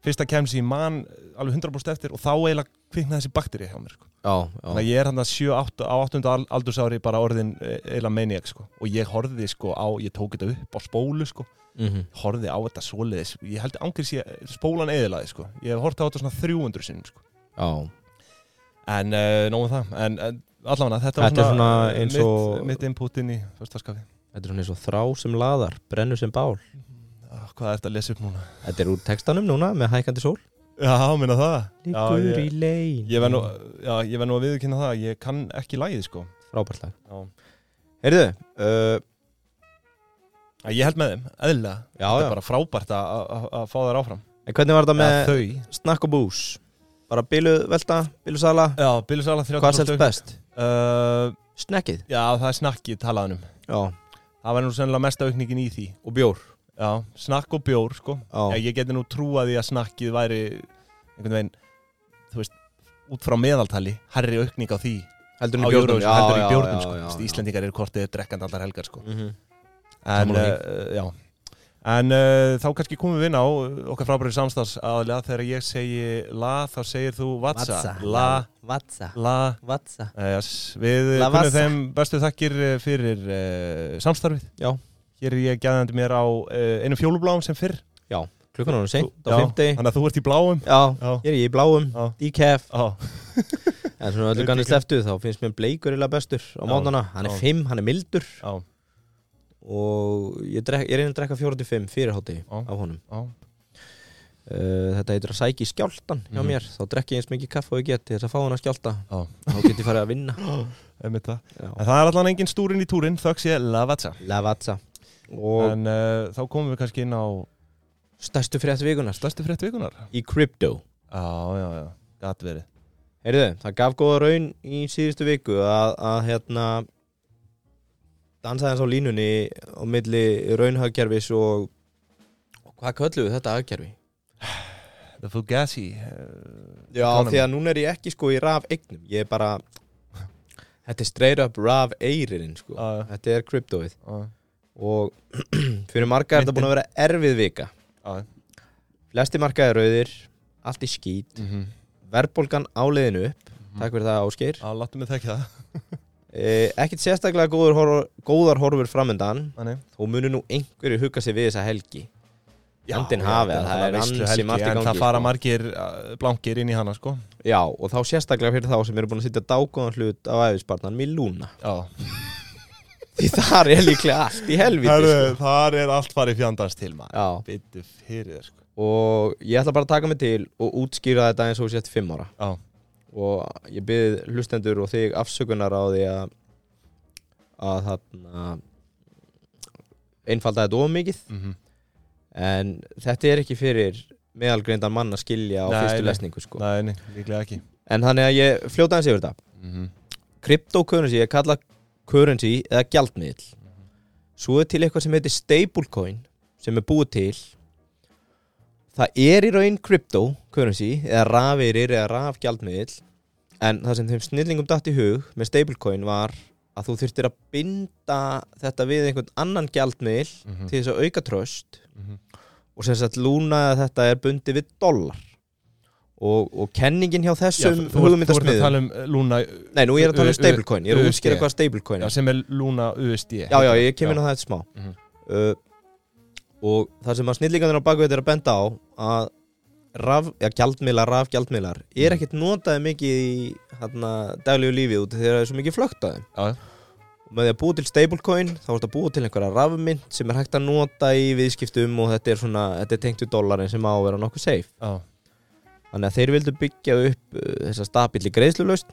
Speaker 1: Fyrsta kemsi í mann alveg 100% eftir og þá eiginlega kviknaði þessi bakteri hjá mér sko.
Speaker 2: Já,
Speaker 1: Þannig að
Speaker 2: já,
Speaker 1: ég er hann að 7 8, á 8. al- aldursári bara orðin eh, eiginlega maniac sko. og ég horfði sko á, ég tók þetta upp á spólu sko,
Speaker 2: Mhm.
Speaker 1: horfði á þetta svoleiðis ég held ángrið sér spólan eðilaði sko. ég hef horfði á þetta svona 300 sinnum sko.
Speaker 2: já
Speaker 1: En uh, nóg um það En uh, allavega þetta
Speaker 2: Þetta er
Speaker 1: var svona, eh,
Speaker 2: svona eins og-
Speaker 1: mitt, mitt input inn í fyrstaskafi
Speaker 2: Þetta er svona eins og þrá sem laðar, brennu sem bál
Speaker 1: Ah, Hvað er þetta að lesa upp núna?
Speaker 2: Þetta er úr textanum núna með hækandi sól
Speaker 1: Já, minna það já,
Speaker 2: Liggur í
Speaker 1: ég,
Speaker 2: lein
Speaker 1: ég verð nú, já, ég verð nú að viðurkynna það Ég kann ekki lægið sko
Speaker 2: Frábært lag
Speaker 1: já.
Speaker 2: Heyrðu, uh,
Speaker 1: Æ, Ég held með þeim, eðlilega
Speaker 2: já,
Speaker 1: Þetta
Speaker 2: já
Speaker 1: er bara frábært að- að að- að fá þær áfram
Speaker 2: En hvernig var þetta með
Speaker 1: Eða þau
Speaker 2: snakk og bús bara bílu velta, bílu sala
Speaker 1: Já, Bílusala 30
Speaker 2: hvað selst best?
Speaker 1: Uh,
Speaker 2: Snekkið
Speaker 1: já, það er snakkið talaðanum
Speaker 2: já.
Speaker 1: Það var nú sennilega mesta aukningin í því
Speaker 2: og bjór
Speaker 1: Já, snakk og bjór sko
Speaker 2: já.
Speaker 1: Já, ég geti nú trúað því að snakkið væri einhvern veginn, þú veist út frá meðaltali, herri aukning á því
Speaker 2: heldur
Speaker 1: á
Speaker 2: henni
Speaker 1: Eurovision,
Speaker 2: bjórnum
Speaker 1: heldur í bjórnum sko. Þú veist, Íslendingar eru kortið drekkand allar helgar sko.
Speaker 2: Mhm.
Speaker 1: en,
Speaker 2: Sammála
Speaker 1: uh, já. en uh, þá kannski komum við inn á uh, okkar frábæri samstags aðlega þegar ég segi la þá segir þú vatsa la,
Speaker 2: vatsa,
Speaker 1: la
Speaker 2: vatsa
Speaker 1: uh, yes. við
Speaker 2: La
Speaker 1: kunnum
Speaker 2: Vatsa.
Speaker 1: þeim bestu þakkir uh, fyrir uh, samstarfið
Speaker 2: Já.
Speaker 1: hér er ég gæðandi mér á uh, einu fjólubláum sem fyrr
Speaker 2: klukkan er seint á
Speaker 1: Já,
Speaker 2: fymti
Speaker 1: þannig að þú ert í bláum
Speaker 2: já,
Speaker 1: Já.
Speaker 2: ég er í bláum
Speaker 1: Já.
Speaker 2: decaf,
Speaker 1: Já.
Speaker 2: en svona öllu kannist eftir þá finnst mér bleikur illa bestur á
Speaker 1: Já,
Speaker 2: mótana, hann er
Speaker 1: já.
Speaker 2: 5, hann er mildur
Speaker 1: Já,
Speaker 2: og ég, drek, ég reyna að drekka 45 fyrir hátti
Speaker 1: Já.
Speaker 2: af honum
Speaker 1: já,
Speaker 2: uh, þetta heitir að sæki skjáltan hjá
Speaker 1: Mhm.
Speaker 2: mér, þá drekki ég eins mikið kaff og ég get til þess að fá hann að skjálta,
Speaker 1: já,
Speaker 2: þá get ég farið að vinna
Speaker 1: einmitt það.
Speaker 2: Já.
Speaker 1: En það er allan engin stúrin í túrin, þöggs ég lavatsa.
Speaker 2: Lavazza og
Speaker 1: En uh, þá komum við kannski inn á
Speaker 2: stærstu frétt vikunar
Speaker 1: stærstu frétt vikunar.
Speaker 2: í crypto
Speaker 1: Já, já, já, gæt verið.
Speaker 2: Heyrðu, það gaf góða raun í síðustu viku að, að hérna dansaði hans á línunni á milli raunhagkerfis og, og hvað kölluðu þetta hagkerfi?
Speaker 1: The Fugazi. Uh,
Speaker 2: Já,
Speaker 1: Economy.
Speaker 2: því að núna er ég ekki sko í raf eignum ég er bara Þetta er straight up RAV eiririnn sko.
Speaker 1: Já, já.
Speaker 2: Þetta er kryptóið
Speaker 1: Já,
Speaker 2: og fyrir marga er þetta búin að vera erfið vika
Speaker 1: já.
Speaker 2: Flesti marga er rauðir, allt í skít
Speaker 1: Mhm.
Speaker 2: Verbolgan áleiðin upp Takk fyrir það Ásgeir
Speaker 1: Já, láttu mig þekki það
Speaker 2: eh, Ekkit sérstaklega góður horf, góðar horfur framöndan
Speaker 1: Þannig.
Speaker 2: Þó munu nú einhverju hugga sig við þessa helgi
Speaker 1: Já,
Speaker 2: Andinn
Speaker 1: já,
Speaker 2: hafi að
Speaker 1: þetta
Speaker 2: það
Speaker 1: var
Speaker 2: er ansi
Speaker 1: veisluhelgi,
Speaker 2: margt í
Speaker 1: En
Speaker 2: gangi,
Speaker 1: það fara
Speaker 2: sko.
Speaker 1: margir uh, blankir inn í hana sko
Speaker 2: Já, og þá sérstaklega fyrir þá sem eru búin að sitja dágóðan hlut af æfispartnanum í lúna
Speaker 1: Já
Speaker 2: Því þar er líklega allt í helviti sko.
Speaker 1: Herru, þar er allt farið fjandans til maður
Speaker 2: Já,
Speaker 1: Bittu fyrir þér sko
Speaker 2: og ég ætla bara að taka mig til og útskýra þetta eins og sett fimm ára
Speaker 1: Já,
Speaker 2: og ég byrði hlustendur og þig afsökunar á því að að þarna einfalda þetta ómikið
Speaker 1: mhm.
Speaker 2: en þetta er ekki fyrir meðalgreindan mann að skilja á
Speaker 1: Nei,
Speaker 2: fyrstu
Speaker 1: nei.
Speaker 2: lesningu sko.
Speaker 1: Nei, nei, líklega ekki
Speaker 2: en þannig að ég fljóta hans yfir þetta
Speaker 1: Mhm.
Speaker 2: cryptocurrency er kallað currency eða gjaldmiðl
Speaker 1: Mhm.
Speaker 2: svo er til eitthvað sem heitir stablecoin sem er búið til það er í raun cryptocurrency eða rafirir eða rafgjaldmiðl en það sem þeim snillingum datt í hug með stablecoin var að þú þurftir að binda þetta við einhvern annan gjaldmiðl
Speaker 1: Mhm.
Speaker 2: til þess að auka tröst
Speaker 1: Mhm.
Speaker 2: og sem sagt lúna að þetta er bundið við dollar og, og kenningin hjá
Speaker 1: Já,
Speaker 2: þessum
Speaker 1: þú- þú ert- Þú ert að
Speaker 2: hugmyndasmiðum
Speaker 1: tala um uh, Luna
Speaker 2: Nei, nú ég er að
Speaker 1: U-
Speaker 2: tala um
Speaker 1: U-
Speaker 2: stablecoin, ég er að
Speaker 1: USD.
Speaker 2: útskýra hvað stablecoin
Speaker 1: já,
Speaker 2: er
Speaker 1: sem er Luna USD
Speaker 2: Já, já, ég kem inn á það eftir smá
Speaker 1: Mhm.
Speaker 2: uh, Og það sem að snillingarnir á bakveit er að benda á að raf, ja, gjaldmiðlar, rafgjaldmiðlar
Speaker 1: Mhm.
Speaker 2: er ekkert notaði mikið í hana, daglegu lífið út af því að það er svo mikið flögt á þeim
Speaker 1: Já,
Speaker 2: og með því að búa til stablecoin þá er þetta búa til einhverja rafmynd sem er hægt að nota í viðskiptum og þetta er, svona, þetta er tengt við dollarin sem á að vera nokkuð safe
Speaker 1: já,
Speaker 2: Þannig að þeir vildu byggja upp uh, þessa stabili greiðslulaust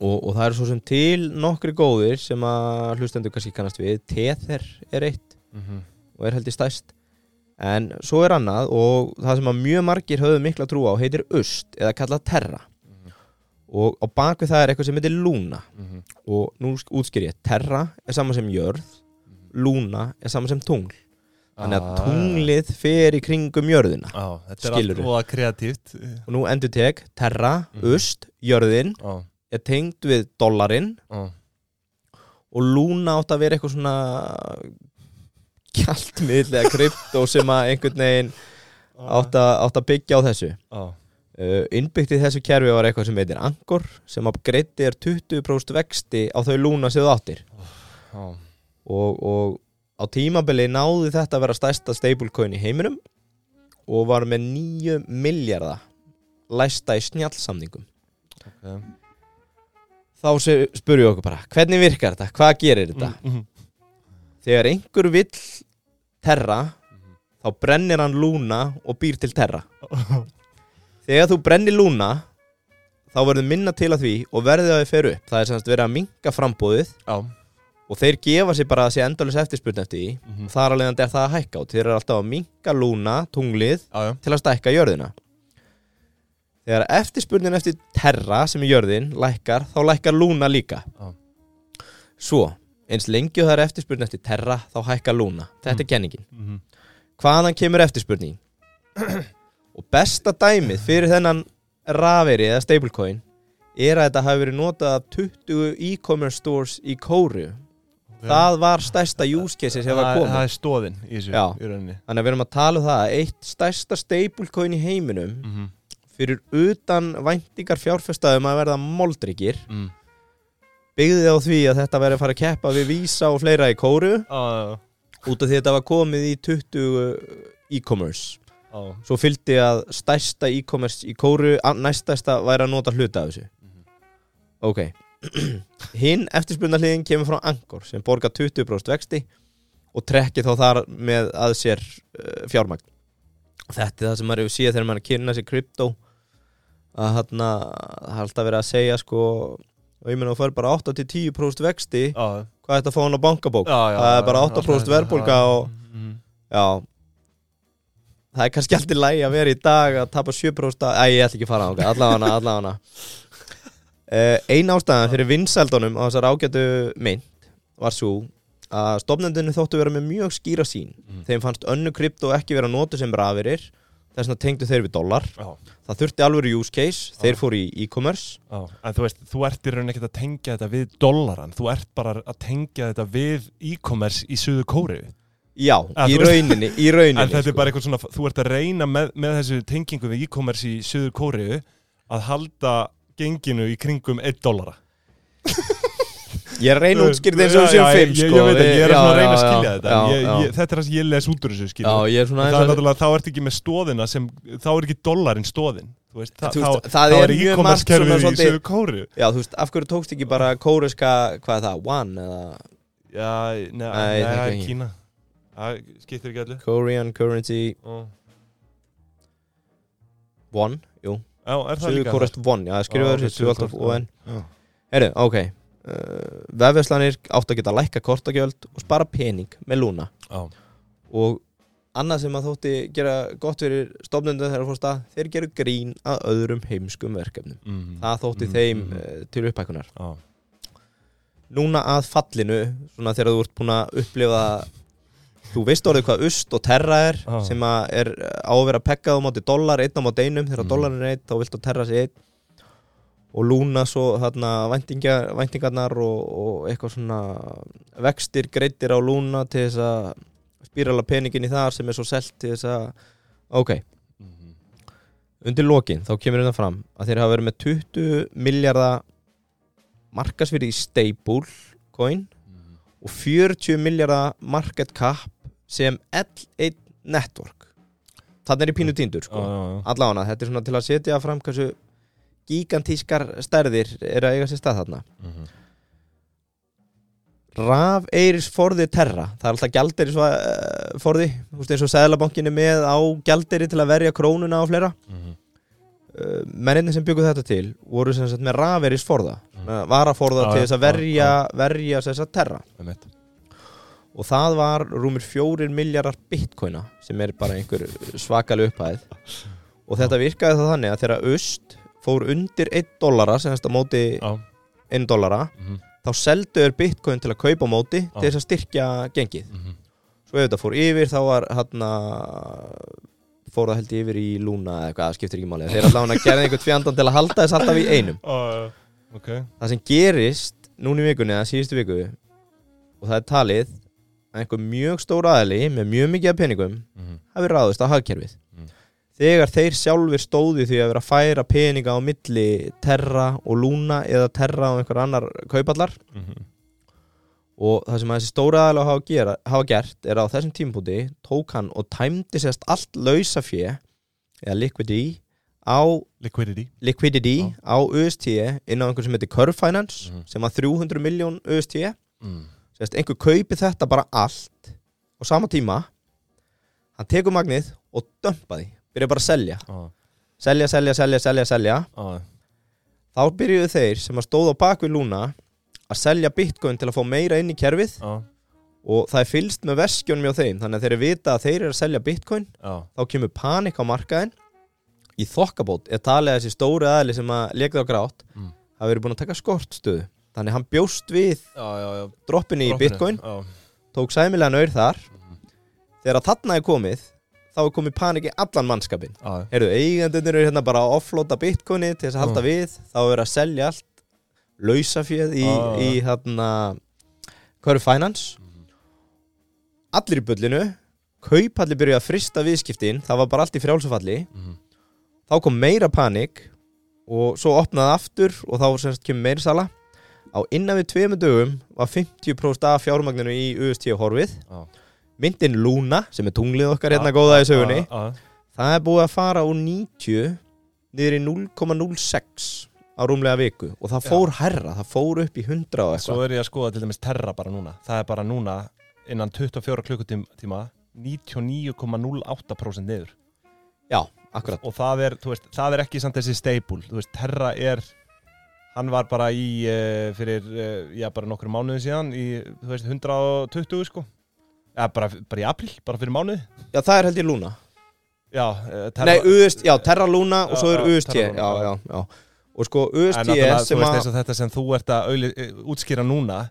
Speaker 2: og, og það eru svo sem til nokkri góðir sem að hlustendur kannski kannast við Tether er eitt
Speaker 1: mhm.
Speaker 2: og er heldur stæst en svo er annað og það sem að mjög margir höfðu mikla trú á heitir Ust eða kallað Terra og á bakvið það er eitthvað sem heitir Luna
Speaker 1: Mhm.
Speaker 2: og nú sk- útskýr ég Terra er sama sem jörð Luna er sama sem tungl þannig að
Speaker 1: Ah.
Speaker 2: tunglið fer í kringum jörðina
Speaker 1: Já, þetta er allt
Speaker 2: Skilurðu?
Speaker 1: búið kreatíft
Speaker 2: og nú endur tek Terra,
Speaker 1: Mhm.
Speaker 2: Ust, jörðin
Speaker 1: Já,
Speaker 2: er tengd við dollarinn
Speaker 1: já
Speaker 2: og Luna átt að vera eitthvað svona kjaltmiðl eða krypto sem að einhvern veginn átt að, átt að byggja á þessu
Speaker 1: Já,
Speaker 2: uh, innbyggt í þessu kerfi var eitthvað sem heitir Angor sem að greiddi er 20% vexti á þau Luna sem þú áttir
Speaker 1: já,
Speaker 2: og, og á tímabili náði þetta að vera stærsta stablecoin í heiminum og var með 9 miljardar læsta í snjallsamningum
Speaker 1: ok
Speaker 2: þá se- spurjum við okkur bara hvernig virkar þetta, hvað gerir þetta
Speaker 1: Mhm.
Speaker 2: þegar einhver vill terra
Speaker 1: Mhm.
Speaker 2: þá brennir hann lúna og býr til terra þegar þú brennir lúna þá verður minna til að því og verðið að þið fer upp það er semst verið að minka frambóðið
Speaker 1: Já, og
Speaker 2: og þeir gefa sér bara að sé endalins eftirspurn eftir því
Speaker 1: Mhm.
Speaker 2: og þar alveg er það að hækka og þeir eru alltaf að minka lúna, tunglið
Speaker 1: já, já
Speaker 2: til að stækka jörðina þegar eftirspurnin eftir terra sem er jörðin lækkar, þá lækkar lúna líka
Speaker 1: Já.
Speaker 2: svo, eins lengi og það er eftirspurnin eftir terra, þá hækkar lúna þetta er kenningin,
Speaker 1: Mhm.
Speaker 2: hvaðan kemur eftirspurnin og besta dæmið fyrir þennan raferi eða stablecoin er að þetta hafi verið notað af 20 e-commerce stores í Kóru það var stærsta use case sem var
Speaker 1: Það-
Speaker 2: komið
Speaker 1: Það er stóðin í þessu,
Speaker 2: Já.
Speaker 1: í rauninni
Speaker 2: þannig að við erum að tala um það að eitt stærsta stablecoin í heiminum
Speaker 1: Mhm.
Speaker 2: fyrir utan væntingar fjárfestaðum að verða moldryggir
Speaker 1: Mm.
Speaker 2: byggði á því að þetta verði að fara að keppa við Visa og fleira í
Speaker 1: Já,
Speaker 2: kóru
Speaker 1: já,
Speaker 2: út af því að þetta var komið í 20 e-commerce
Speaker 1: já, já.
Speaker 2: svo fylgdi að stærsta e-commerce í kóru næstæsta væri að nota hluta af þessu
Speaker 1: Mhm.
Speaker 2: ok hinn eftirspurnarliðin kemur frá Angor sem borgar 20% vexti og trekki þá þar með að sér uh, fjármagn þetta er það sem maður hefur síða þegar maður er að kynna sér krypto að þarna það er alltaf verið að segja sko og ég meina þú fær bara 8-10% vexti
Speaker 1: Já,
Speaker 2: hvað er þetta að fá hann á bankabók
Speaker 1: já, já,
Speaker 2: það er bara
Speaker 1: já,
Speaker 2: 8%
Speaker 1: já,
Speaker 2: verðbólga
Speaker 1: já.
Speaker 2: og
Speaker 1: Mhm.
Speaker 2: Já Það er kannski alltaf lægi að vera í dag að tapa 7% að- Æ, ég ætla ekki að fara á allavega allavega uh, Ein ástæðan fyrir vinsældunum á þessar ágætu mynd var svo að stopnendinu þóttu vera með mjög skýra sín
Speaker 1: Mhm.
Speaker 2: þeim fannst önnu krypto ekki vera notu sem rafirir þess vegna tengdu þeir við dólar
Speaker 1: Já,
Speaker 2: það þurfti alveg use case,
Speaker 1: Ah.
Speaker 2: þeir fóru í e-commerce
Speaker 1: já. En þú veist, þú ert í rauninni ekkert að tengja þetta við dollaran, þú ert bara að tengja þetta við e-commerce í Suðu Kóriðu.
Speaker 2: já,
Speaker 1: Ah,
Speaker 2: í
Speaker 1: þú veist-
Speaker 2: rauninni, í rauninni
Speaker 1: En þetta
Speaker 2: sko.
Speaker 1: er bara eitthvað svona, þú ert að reyna með, með þessu tengingu við e-commerce í Suður Kóriðu að halda genginu í kringum 1 dollara. Eh,
Speaker 2: ég er að reyna að útskýrða eins
Speaker 1: Já,
Speaker 2: og við séum
Speaker 1: já,
Speaker 2: fimm
Speaker 1: ég-
Speaker 2: sko.
Speaker 1: Ég veit ekki, ég er
Speaker 2: Já,
Speaker 1: að svona að
Speaker 2: já,
Speaker 1: reyna að
Speaker 2: já,
Speaker 1: skilja þetta.
Speaker 2: já,
Speaker 1: ég,
Speaker 2: já.
Speaker 1: ég, þetta er það sem ég les út úr þessu
Speaker 2: Já,
Speaker 1: skilja.
Speaker 2: ég er svona
Speaker 1: Það er
Speaker 2: aðeins að-
Speaker 1: náttúrulega, þá ertu ekki með stóðina sem, þá er ekki dollarin stóðin. Þú veist, það,
Speaker 2: Þú veist,
Speaker 1: þá,
Speaker 2: það
Speaker 1: þá
Speaker 2: er
Speaker 1: er
Speaker 2: mjög
Speaker 1: e-commerce
Speaker 2: margt svona
Speaker 1: kerfið í
Speaker 2: svolítið-
Speaker 1: Suður Kóriðu.
Speaker 2: Já, þú veist, af hverju tókst ekki bara kóreska, hvað er það, one eða
Speaker 1: Já, neða,
Speaker 2: Nei, það er
Speaker 1: það er
Speaker 2: ekki.
Speaker 1: Kína. Það skiptir ekki allir.
Speaker 2: Korean currency one, jú,
Speaker 1: Já, er það
Speaker 2: suðu
Speaker 1: líka?
Speaker 2: kórest one, já,
Speaker 1: Já,
Speaker 2: skrifaður
Speaker 1: ok,
Speaker 2: sér, suðu alltaf
Speaker 1: Suður-Kórest,
Speaker 2: one.
Speaker 1: já.
Speaker 2: Herru, ok, uh, vefverslanir átt að geta lækka kortagjöld og spara pening með lúna
Speaker 1: Já.
Speaker 2: og annað sem að þótti gera gott fyrir stofnundan þegar fórst að þeir gera grín að öðrum heimskum verkefnum.
Speaker 1: Mhm.
Speaker 2: Það þótti
Speaker 1: Mm,
Speaker 2: þeim
Speaker 1: mhm.
Speaker 2: uh, til upphækunar.
Speaker 1: Já.
Speaker 2: núna að fallinu svona þegar þú ert búin að upplifa þú veist orðið hvað ust og terra er
Speaker 1: Já.
Speaker 2: sem að er eh, á að vera peggað á móti dólar, einn á móti einum þegar
Speaker 1: Mhm.
Speaker 2: mm. dólarin er einn, þá viltu að terra sig einn og lúna svo þarna væntingar, væntingarnar og, og eitthvað svona vextir greittir á lúna til þess að spírala peningin í þar sem er svo selt til þess að ok,
Speaker 1: Mhm.
Speaker 2: undir lokin þá kemur þetta fram að þeir hafa verið með 20 miljardar markasfyrir í stable coin
Speaker 1: Mhm.
Speaker 2: og 40 miljardar market cap sem L1 network þannig er í pínu tíndur
Speaker 1: Já,
Speaker 2: sko.
Speaker 1: já, já.
Speaker 2: allána, þetta er svona til að setja fram hversu gigantískar stærðir er að eiga sér stað þarna
Speaker 1: Mhm.
Speaker 2: Raf Eiris forði terra það er alltaf gjaldir svo, uh, forði Þú veist, eins og seðlabankinni með á gjaldiri til að verja krónuna og fleira
Speaker 1: Mhm.
Speaker 2: uh, menninni sem byggu þetta til voru sem sagt með raveris forða mm. varaforða
Speaker 1: Já,
Speaker 2: til
Speaker 1: já,
Speaker 2: þess að
Speaker 1: já,
Speaker 2: verja, verja þess að terra
Speaker 1: Einmitt.
Speaker 2: og það var rúmir fjórir miljardar bitcoina sem er bara einhver svakal upphæð og þetta virkaði það þannig að þegar öst fór undir 1 dollara sem þess að móti
Speaker 1: Já.
Speaker 2: 1 dollara
Speaker 1: Mhm.
Speaker 2: þá seldu er bitcoin til að kaupa á móti
Speaker 1: Já.
Speaker 2: til þess að styrkja gengið
Speaker 1: Mhm.
Speaker 2: svo ef þetta fór yfir þá var hann fór það held ég yfir í lúna eða eitthvað, það skiptir ekki máli þeir alltaf hann að gera einhvern fjandan til að halda þess alltaf í einum
Speaker 1: Já, já. Ok.
Speaker 2: það sem gerist núna í vikunni eða síðustu viku og það er talið að einhver mjög stór aðli með mjög mikið af peningum
Speaker 1: Mhm.
Speaker 2: hafi ráðist á hagkerfið
Speaker 1: Mm.
Speaker 2: þegar þeir sjálfur stóðu því að vera að færa peninga á milli terra og lúna eða terra og einhver annar kaupallar
Speaker 1: Mhm.
Speaker 2: og það sem að þessi stóra aðlega hafa, gera, hafa gert er að á þessum tímpúti tók hann og tæmdi sérst allt lausa fjö eða liquidity á
Speaker 1: Liquidity.
Speaker 2: liquidity
Speaker 1: Já.
Speaker 2: á UST inn á einhver sem heitir Curve Finance
Speaker 1: Mhm.
Speaker 2: sem að 300 miljón UST
Speaker 1: Mm.
Speaker 2: sérst einhver kaupi þetta bara allt og sama tíma hann tekur magnið og dömpa því byrja bara að selja,
Speaker 1: Já,
Speaker 2: selja, selja, selja, selja, selja
Speaker 1: já.
Speaker 2: þá byrjuðu þeir sem að stóð á bakvið lúna að selja bitcoin til að fá meira inn í kerfið
Speaker 1: Já,
Speaker 2: og það er fylst með veskjónum hjá þeim þannig að þeir eru vita að þeir eru að selja bitcoin
Speaker 1: já.
Speaker 2: þá kemur panik á markaðin í þokkabót er talið að þessi stóri aðli sem að legði á grátt
Speaker 1: Mm.
Speaker 2: hafa verið búin að taka skortstöðu þannig hann bjóst við
Speaker 1: Já, já, já.
Speaker 2: droppinni
Speaker 1: Droppinu.
Speaker 2: í
Speaker 1: Mhm.
Speaker 2: bitcoin
Speaker 1: Já.
Speaker 2: tók sæmilega nöyr þar þegar þarna er komið þá er komið panik í allan mannskapin
Speaker 1: Já, já.
Speaker 2: Heyrðu, eigendunir eru hérna bara að offlota bitcoini til þess að halda
Speaker 1: Já.
Speaker 2: við þá er að selja allt lausafjöð í,
Speaker 1: Já, Mhm. já,
Speaker 2: í
Speaker 1: já.
Speaker 2: þarna Curve Finance allir í bullinu kaupallir byrjuði að frista viðskiptin það var bara allt í frjálsafalli
Speaker 1: Mhm.
Speaker 2: þá kom meira panik og svo opnaði aftur og þá semst kemur meira sala á innan við tveimur dögum var 50% af fjármagninu í UST horfið
Speaker 1: Já.
Speaker 2: myndin Luna sem er tunglið okkar hérna
Speaker 1: Já,
Speaker 2: góða í sögunni
Speaker 1: Já, já.
Speaker 2: það er búið að fara úr 90 niður í 0,06 á rúmlega viku og það
Speaker 1: Já.
Speaker 2: fór herra, það fór upp í 100 og
Speaker 1: Svo
Speaker 2: eitthvað
Speaker 1: er ég að skoða til dæmis Terra bara núna. Það er bara núna innan 24 klukkutíma 99,08% niður.
Speaker 2: já, akkurat
Speaker 1: Og það er, þú veist, það er ekki samt þessi stable. Þú veist, Terra er, hann var bara í, uh, fyrir, uh, já, bara nokkur mánuðin síðan í, þú veist, 120 sko. Já, bara, bara í april, bara fyrir mánuði.
Speaker 2: já, það er held ég Luna
Speaker 1: Já, uh,
Speaker 2: Nei, UST, já, Terra Luna og
Speaker 1: Já,
Speaker 2: svo er
Speaker 1: já,
Speaker 2: UST,
Speaker 1: Terra Luna,
Speaker 2: já,
Speaker 1: já.
Speaker 2: já, já Og sko,
Speaker 1: En
Speaker 2: UST
Speaker 1: náttúrulega, þú
Speaker 2: sem
Speaker 1: veist,
Speaker 2: að
Speaker 1: eins og þetta sem þú ert að auðli, útskýra núna,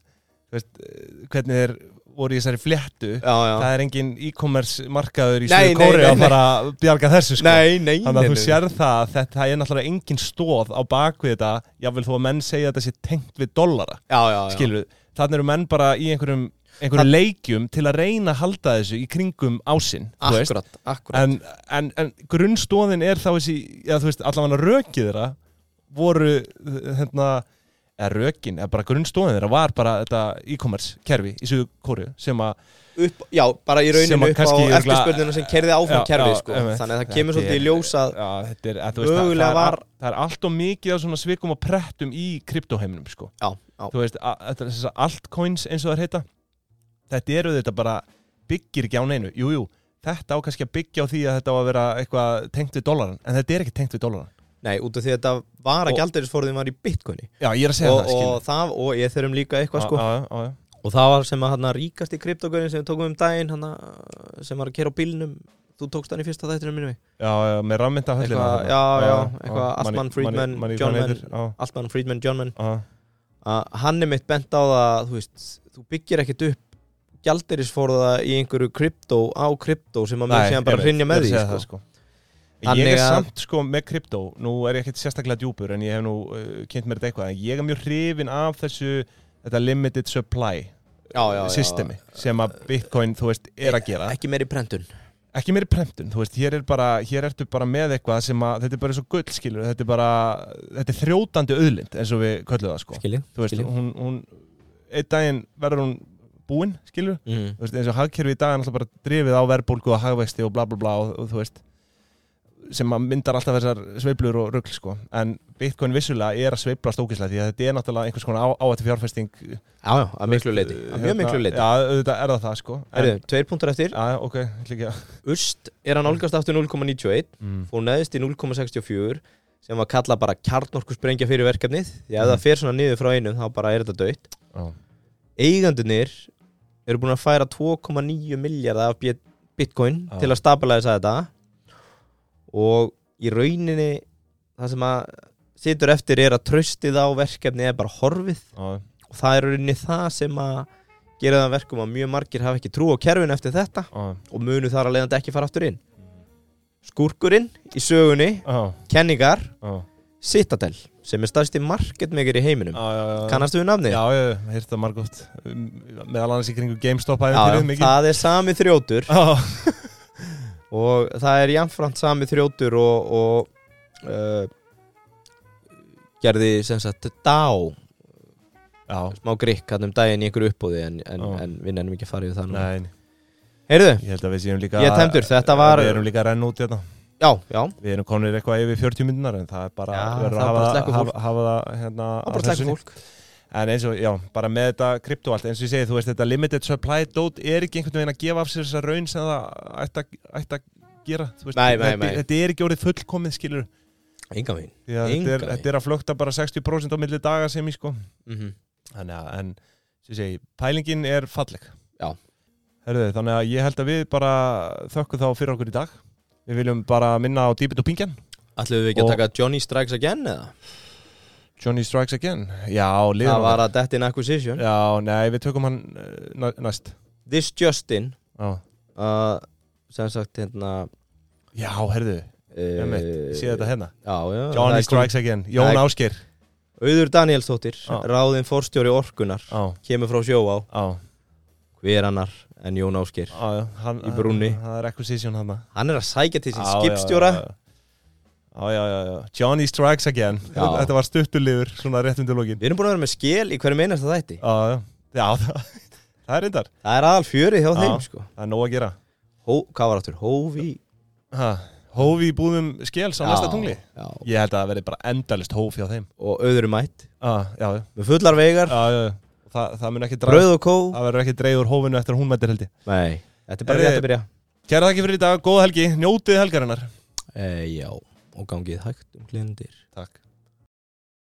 Speaker 1: þú veist, eh, hvernig er voru í þessari fléttu
Speaker 2: já, já.
Speaker 1: það er engin e-commerce markaður í
Speaker 2: Nei,
Speaker 1: Suður Kóri
Speaker 2: nei, nei,
Speaker 1: að fara að bjarga þessu sko.
Speaker 2: Nei, nei,
Speaker 1: þannig
Speaker 2: nei,
Speaker 1: að þú
Speaker 2: nei.
Speaker 1: sérð það að þetta það er náttúrulega engin stóð á bakvið þetta jável þó að menn segja að þetta sé tengt við dollara
Speaker 2: já, já, já.
Speaker 1: skilur við, þannig eru menn bara í einhverjum, einhverjum leikjum til að reyna að halda þessu í kringum ásinn þú veist.
Speaker 2: Akkurat, akkurat
Speaker 1: en, en, en grunnstóðin er þá þessi, já þú veist, allavega rökið þeirra voru hérna, eða rökin, eða bara grunnstóðin þeirra var bara þetta e-commerce kerfi í Suður Kóru sem að
Speaker 2: upp, Já, bara í
Speaker 1: Sem
Speaker 2: rauninu
Speaker 1: að
Speaker 2: upp á
Speaker 1: kannski örugglega-
Speaker 2: eftirspurnina sem kerði áfram
Speaker 1: Já,
Speaker 2: kerfið
Speaker 1: já,
Speaker 2: sko.
Speaker 1: einmitt.
Speaker 2: Þannig að það
Speaker 1: Þetta
Speaker 2: kemur svolítið í ljós að
Speaker 1: já, þetta er, að, þú veist, það,
Speaker 2: Mögulega
Speaker 1: það, er,
Speaker 2: var-
Speaker 1: var... það er allt og mikið af svona svikum og prettum í kryptoheiminum sko.
Speaker 2: Já, já,
Speaker 1: þú veist, að- þetta er þess að altcoins eins og það heita þetta eru þetta bara byggir ekki á neinu, jú, jú þetta á kannski að byggja á því að þetta á að vera eitthvað tengt við dólaran, en þetta er ekki tengt við dólaran
Speaker 2: nei, út af því að þetta var
Speaker 1: Og-
Speaker 2: að gjaldirisforðin var í bitcoini
Speaker 1: já, ég er að segja
Speaker 2: og,
Speaker 1: það, skilur
Speaker 2: og það, og ég þurfum líka eitthvað sko
Speaker 1: Já, já, já,
Speaker 2: og það var sem að hann ríkast í kryptokurinn sem við tókum um daginn hana, sem var að kera á bílnum þú tókst hann í fyrsta þættinu minni mig
Speaker 1: já, já, já, með rammynda höllina
Speaker 2: Eitthvað-
Speaker 1: þarna.
Speaker 2: já, já,
Speaker 1: já,
Speaker 2: eitthvað
Speaker 1: já,
Speaker 2: Altman,
Speaker 1: Manni-
Speaker 2: Friedman,
Speaker 1: Manni- Manni-
Speaker 2: John
Speaker 1: Manni-
Speaker 2: Mann.
Speaker 1: já,
Speaker 2: Altman, Friedman, Johnman
Speaker 1: já,
Speaker 2: að hann er mitt bent á það þú veist, þú byggir ekkit upp gjaldirisforða í einhverju krypto á krypto sem að mér
Speaker 1: Nei,
Speaker 2: séðan bara
Speaker 1: ég
Speaker 2: hrinja
Speaker 1: veit,
Speaker 2: með
Speaker 1: ég
Speaker 2: því
Speaker 1: er að
Speaker 2: sko.
Speaker 1: segja það,
Speaker 2: Þannig
Speaker 1: Ég er
Speaker 2: að-
Speaker 1: samt sko með kryptó, nú er ég ekkert sérstaklega djúpur en ég hef nú uh, kynnt mér þetta eitthvað en ég er mjög hrifin af þessu þetta limited supply
Speaker 2: já, já, já,
Speaker 1: systemi sem að Bitcoin, þú veist, er að gera
Speaker 2: ekki meir í prentun
Speaker 1: ekki meiri premtun, þú veist, hér er bara hér ertu bara með eitthvað sem að þetta er bara svo gull, skilur, þetta er bara þetta er þrjótandi auðlind, eins og við köllum það sko,
Speaker 2: skiljið
Speaker 1: þú veist,
Speaker 2: skilji.
Speaker 1: hún, hún einn daginn verður hún búin, skilur
Speaker 2: mm.
Speaker 1: þú veist, eins og hagkerfi í dag er alltaf bara drifið á verðbólgu og hagvexti og bla bla bla og, og þú veist sem að myndar alltaf þessar sveiflur og rugl sko. en Bitcoin vissulega er að sveifla stókislega því að þetta er náttúrulega einhvers konar áætti fjárfesting
Speaker 2: já, já, að miklu leiti að mjög miklu leiti
Speaker 1: eh, hérna, Já, auðvitað er það það sko en,
Speaker 2: Erðu, tveir punktar eftir
Speaker 1: Já, ok, líka
Speaker 2: Ust er að nálgast aftur 0,91
Speaker 1: mm.
Speaker 2: fór neðist í 0,64 sem var kallað bara kjarnorku sprengja fyrir verkefnið því að ef það fer svona niður frá einum þá bara er þetta dött
Speaker 1: Já,
Speaker 2: eigandunir eru búin að færa 2,9 miljardar af bit- bitcoin
Speaker 1: Já.
Speaker 2: til að stabilisa þetta og í rauninni það sem að situr eftir er að tröstið á verkefni er bara horfið
Speaker 1: já,
Speaker 2: og það er í rauninni það sem að gera það að verkum að mjög margir hafa ekki trú á kerfin eftir þetta
Speaker 1: já,
Speaker 2: og munu þar að leiðandi ekki fara aftur inn skúrkurinn í sögunni
Speaker 1: já,
Speaker 2: kenningar
Speaker 1: já,
Speaker 2: Citadel sem er stærsti marketmaker í heiminum
Speaker 1: já, já.
Speaker 2: kannast við nafnið?
Speaker 1: Já, já, já, heyrst það margótt Um, meðal annars í kringu GameStop
Speaker 2: Já,
Speaker 1: aðeins fyrir
Speaker 2: já,
Speaker 1: mikið
Speaker 2: það er sami þrjótur
Speaker 1: Já,
Speaker 2: og það er jafnframt sami þrjótur og, og uh, gerði sem sagt DAO
Speaker 1: já,
Speaker 2: smá grikk hann um daginn í einhverju uppbóði en, en,
Speaker 1: Já.
Speaker 2: en við nennum ekki að fara í það nú
Speaker 1: nein,
Speaker 2: Heyrðu,
Speaker 1: ég held að við séum líka
Speaker 2: Ég er tæmdur, þetta var-
Speaker 1: Við erum líka að renna út hérna
Speaker 2: já, já
Speaker 1: Við erum konir eitthvað yfir 40 minnar en það er bara
Speaker 2: Já,
Speaker 1: verður
Speaker 2: það er
Speaker 1: að
Speaker 2: bara
Speaker 1: hafa,
Speaker 2: að slekka
Speaker 1: hafa, hafa það hérna
Speaker 2: Það
Speaker 1: á
Speaker 2: bara slækum
Speaker 1: hressunni.
Speaker 2: fólk
Speaker 1: En eins og, já, bara með þetta krypto allt eins og ég segi, þú veist, þetta limited supply dot er ekki einhvern veginn að gefa af sér þessa raun sem það ætti að- ætti að gera þú veist,
Speaker 2: Nei, nei,
Speaker 1: þetta,
Speaker 2: nei.
Speaker 1: þetta er ekki orðið fullkomið skilur
Speaker 2: Enga mín
Speaker 1: því að þetta er,
Speaker 2: Engan veginn.
Speaker 1: þetta er að flökta bara 60% á milli daga sem ég sko
Speaker 2: mm -hmm.
Speaker 1: Þannig að, en, sem ég segi, pælingin er falleg
Speaker 2: Já.
Speaker 1: Herðu, þannig að ég held að við bara þökkum þá fyrir okkur í dag Við viljum bara minna á dýbit og pingjan
Speaker 2: Ætlum við ekki að
Speaker 1: Og-
Speaker 2: taka Johnny Strikes Again eða?
Speaker 1: Johnny Strikes Again Já, liðum
Speaker 2: Það var að Debt in Acquisition
Speaker 1: Já, nei, við tökum hann uh, næ- næst
Speaker 2: This Justin
Speaker 1: Já,
Speaker 2: uh, sem sagt hérna
Speaker 1: já herðu,
Speaker 2: uh,
Speaker 1: ég mitt, ég sé þetta hérna
Speaker 2: Já, já það
Speaker 1: Johnny
Speaker 2: er komið-
Speaker 1: Strikes Again, Jón
Speaker 2: Nei.
Speaker 1: Ásgeir
Speaker 2: Auður Danielsdóttir,
Speaker 1: Já.
Speaker 2: ráðin forstjóri orkunar
Speaker 1: Já,
Speaker 2: kemur frá sjóá
Speaker 1: já,
Speaker 2: hver annar en Jón Áskir
Speaker 1: já já, hann,
Speaker 2: Í brúnni.
Speaker 1: hann- Það er acquisition hann
Speaker 2: hann er að sækja til sín skipstjóra
Speaker 1: Já, já, já, já Johnny Strikes Again
Speaker 2: Já.
Speaker 1: Þetta var stuttulegur, svona rétt undir lókin Já,
Speaker 2: við erum búin að vera með skil í hverju meinast það þætti
Speaker 1: já, já, það, það er reyndar
Speaker 2: það er aðal fjöri hjá
Speaker 1: Já.
Speaker 2: þeim sko.
Speaker 1: Það er nóg að gera
Speaker 2: Hó, hvað var aftur, hófi
Speaker 1: ha, Hófi í búðum skels á næsta tungli
Speaker 2: já.
Speaker 1: Ég held að það verði bara endalist hófi á þeim
Speaker 2: og auður er mætt
Speaker 1: Já, já, já,
Speaker 2: með fullar veigar,
Speaker 1: já, já. já. Það, það mun ekki draga
Speaker 2: brauð og kó
Speaker 1: Það verður ekki dreigð úr hófinu eftir að hún mættir heldig
Speaker 2: nei, þetta er bara
Speaker 1: Heyrðu.
Speaker 2: rétt að byrja
Speaker 1: Kæra þakki
Speaker 2: eh,
Speaker 1: fyrir í dag, góða helgi, njótið helgarinnar
Speaker 2: e, já, og gangið hægt um glindir
Speaker 1: Takk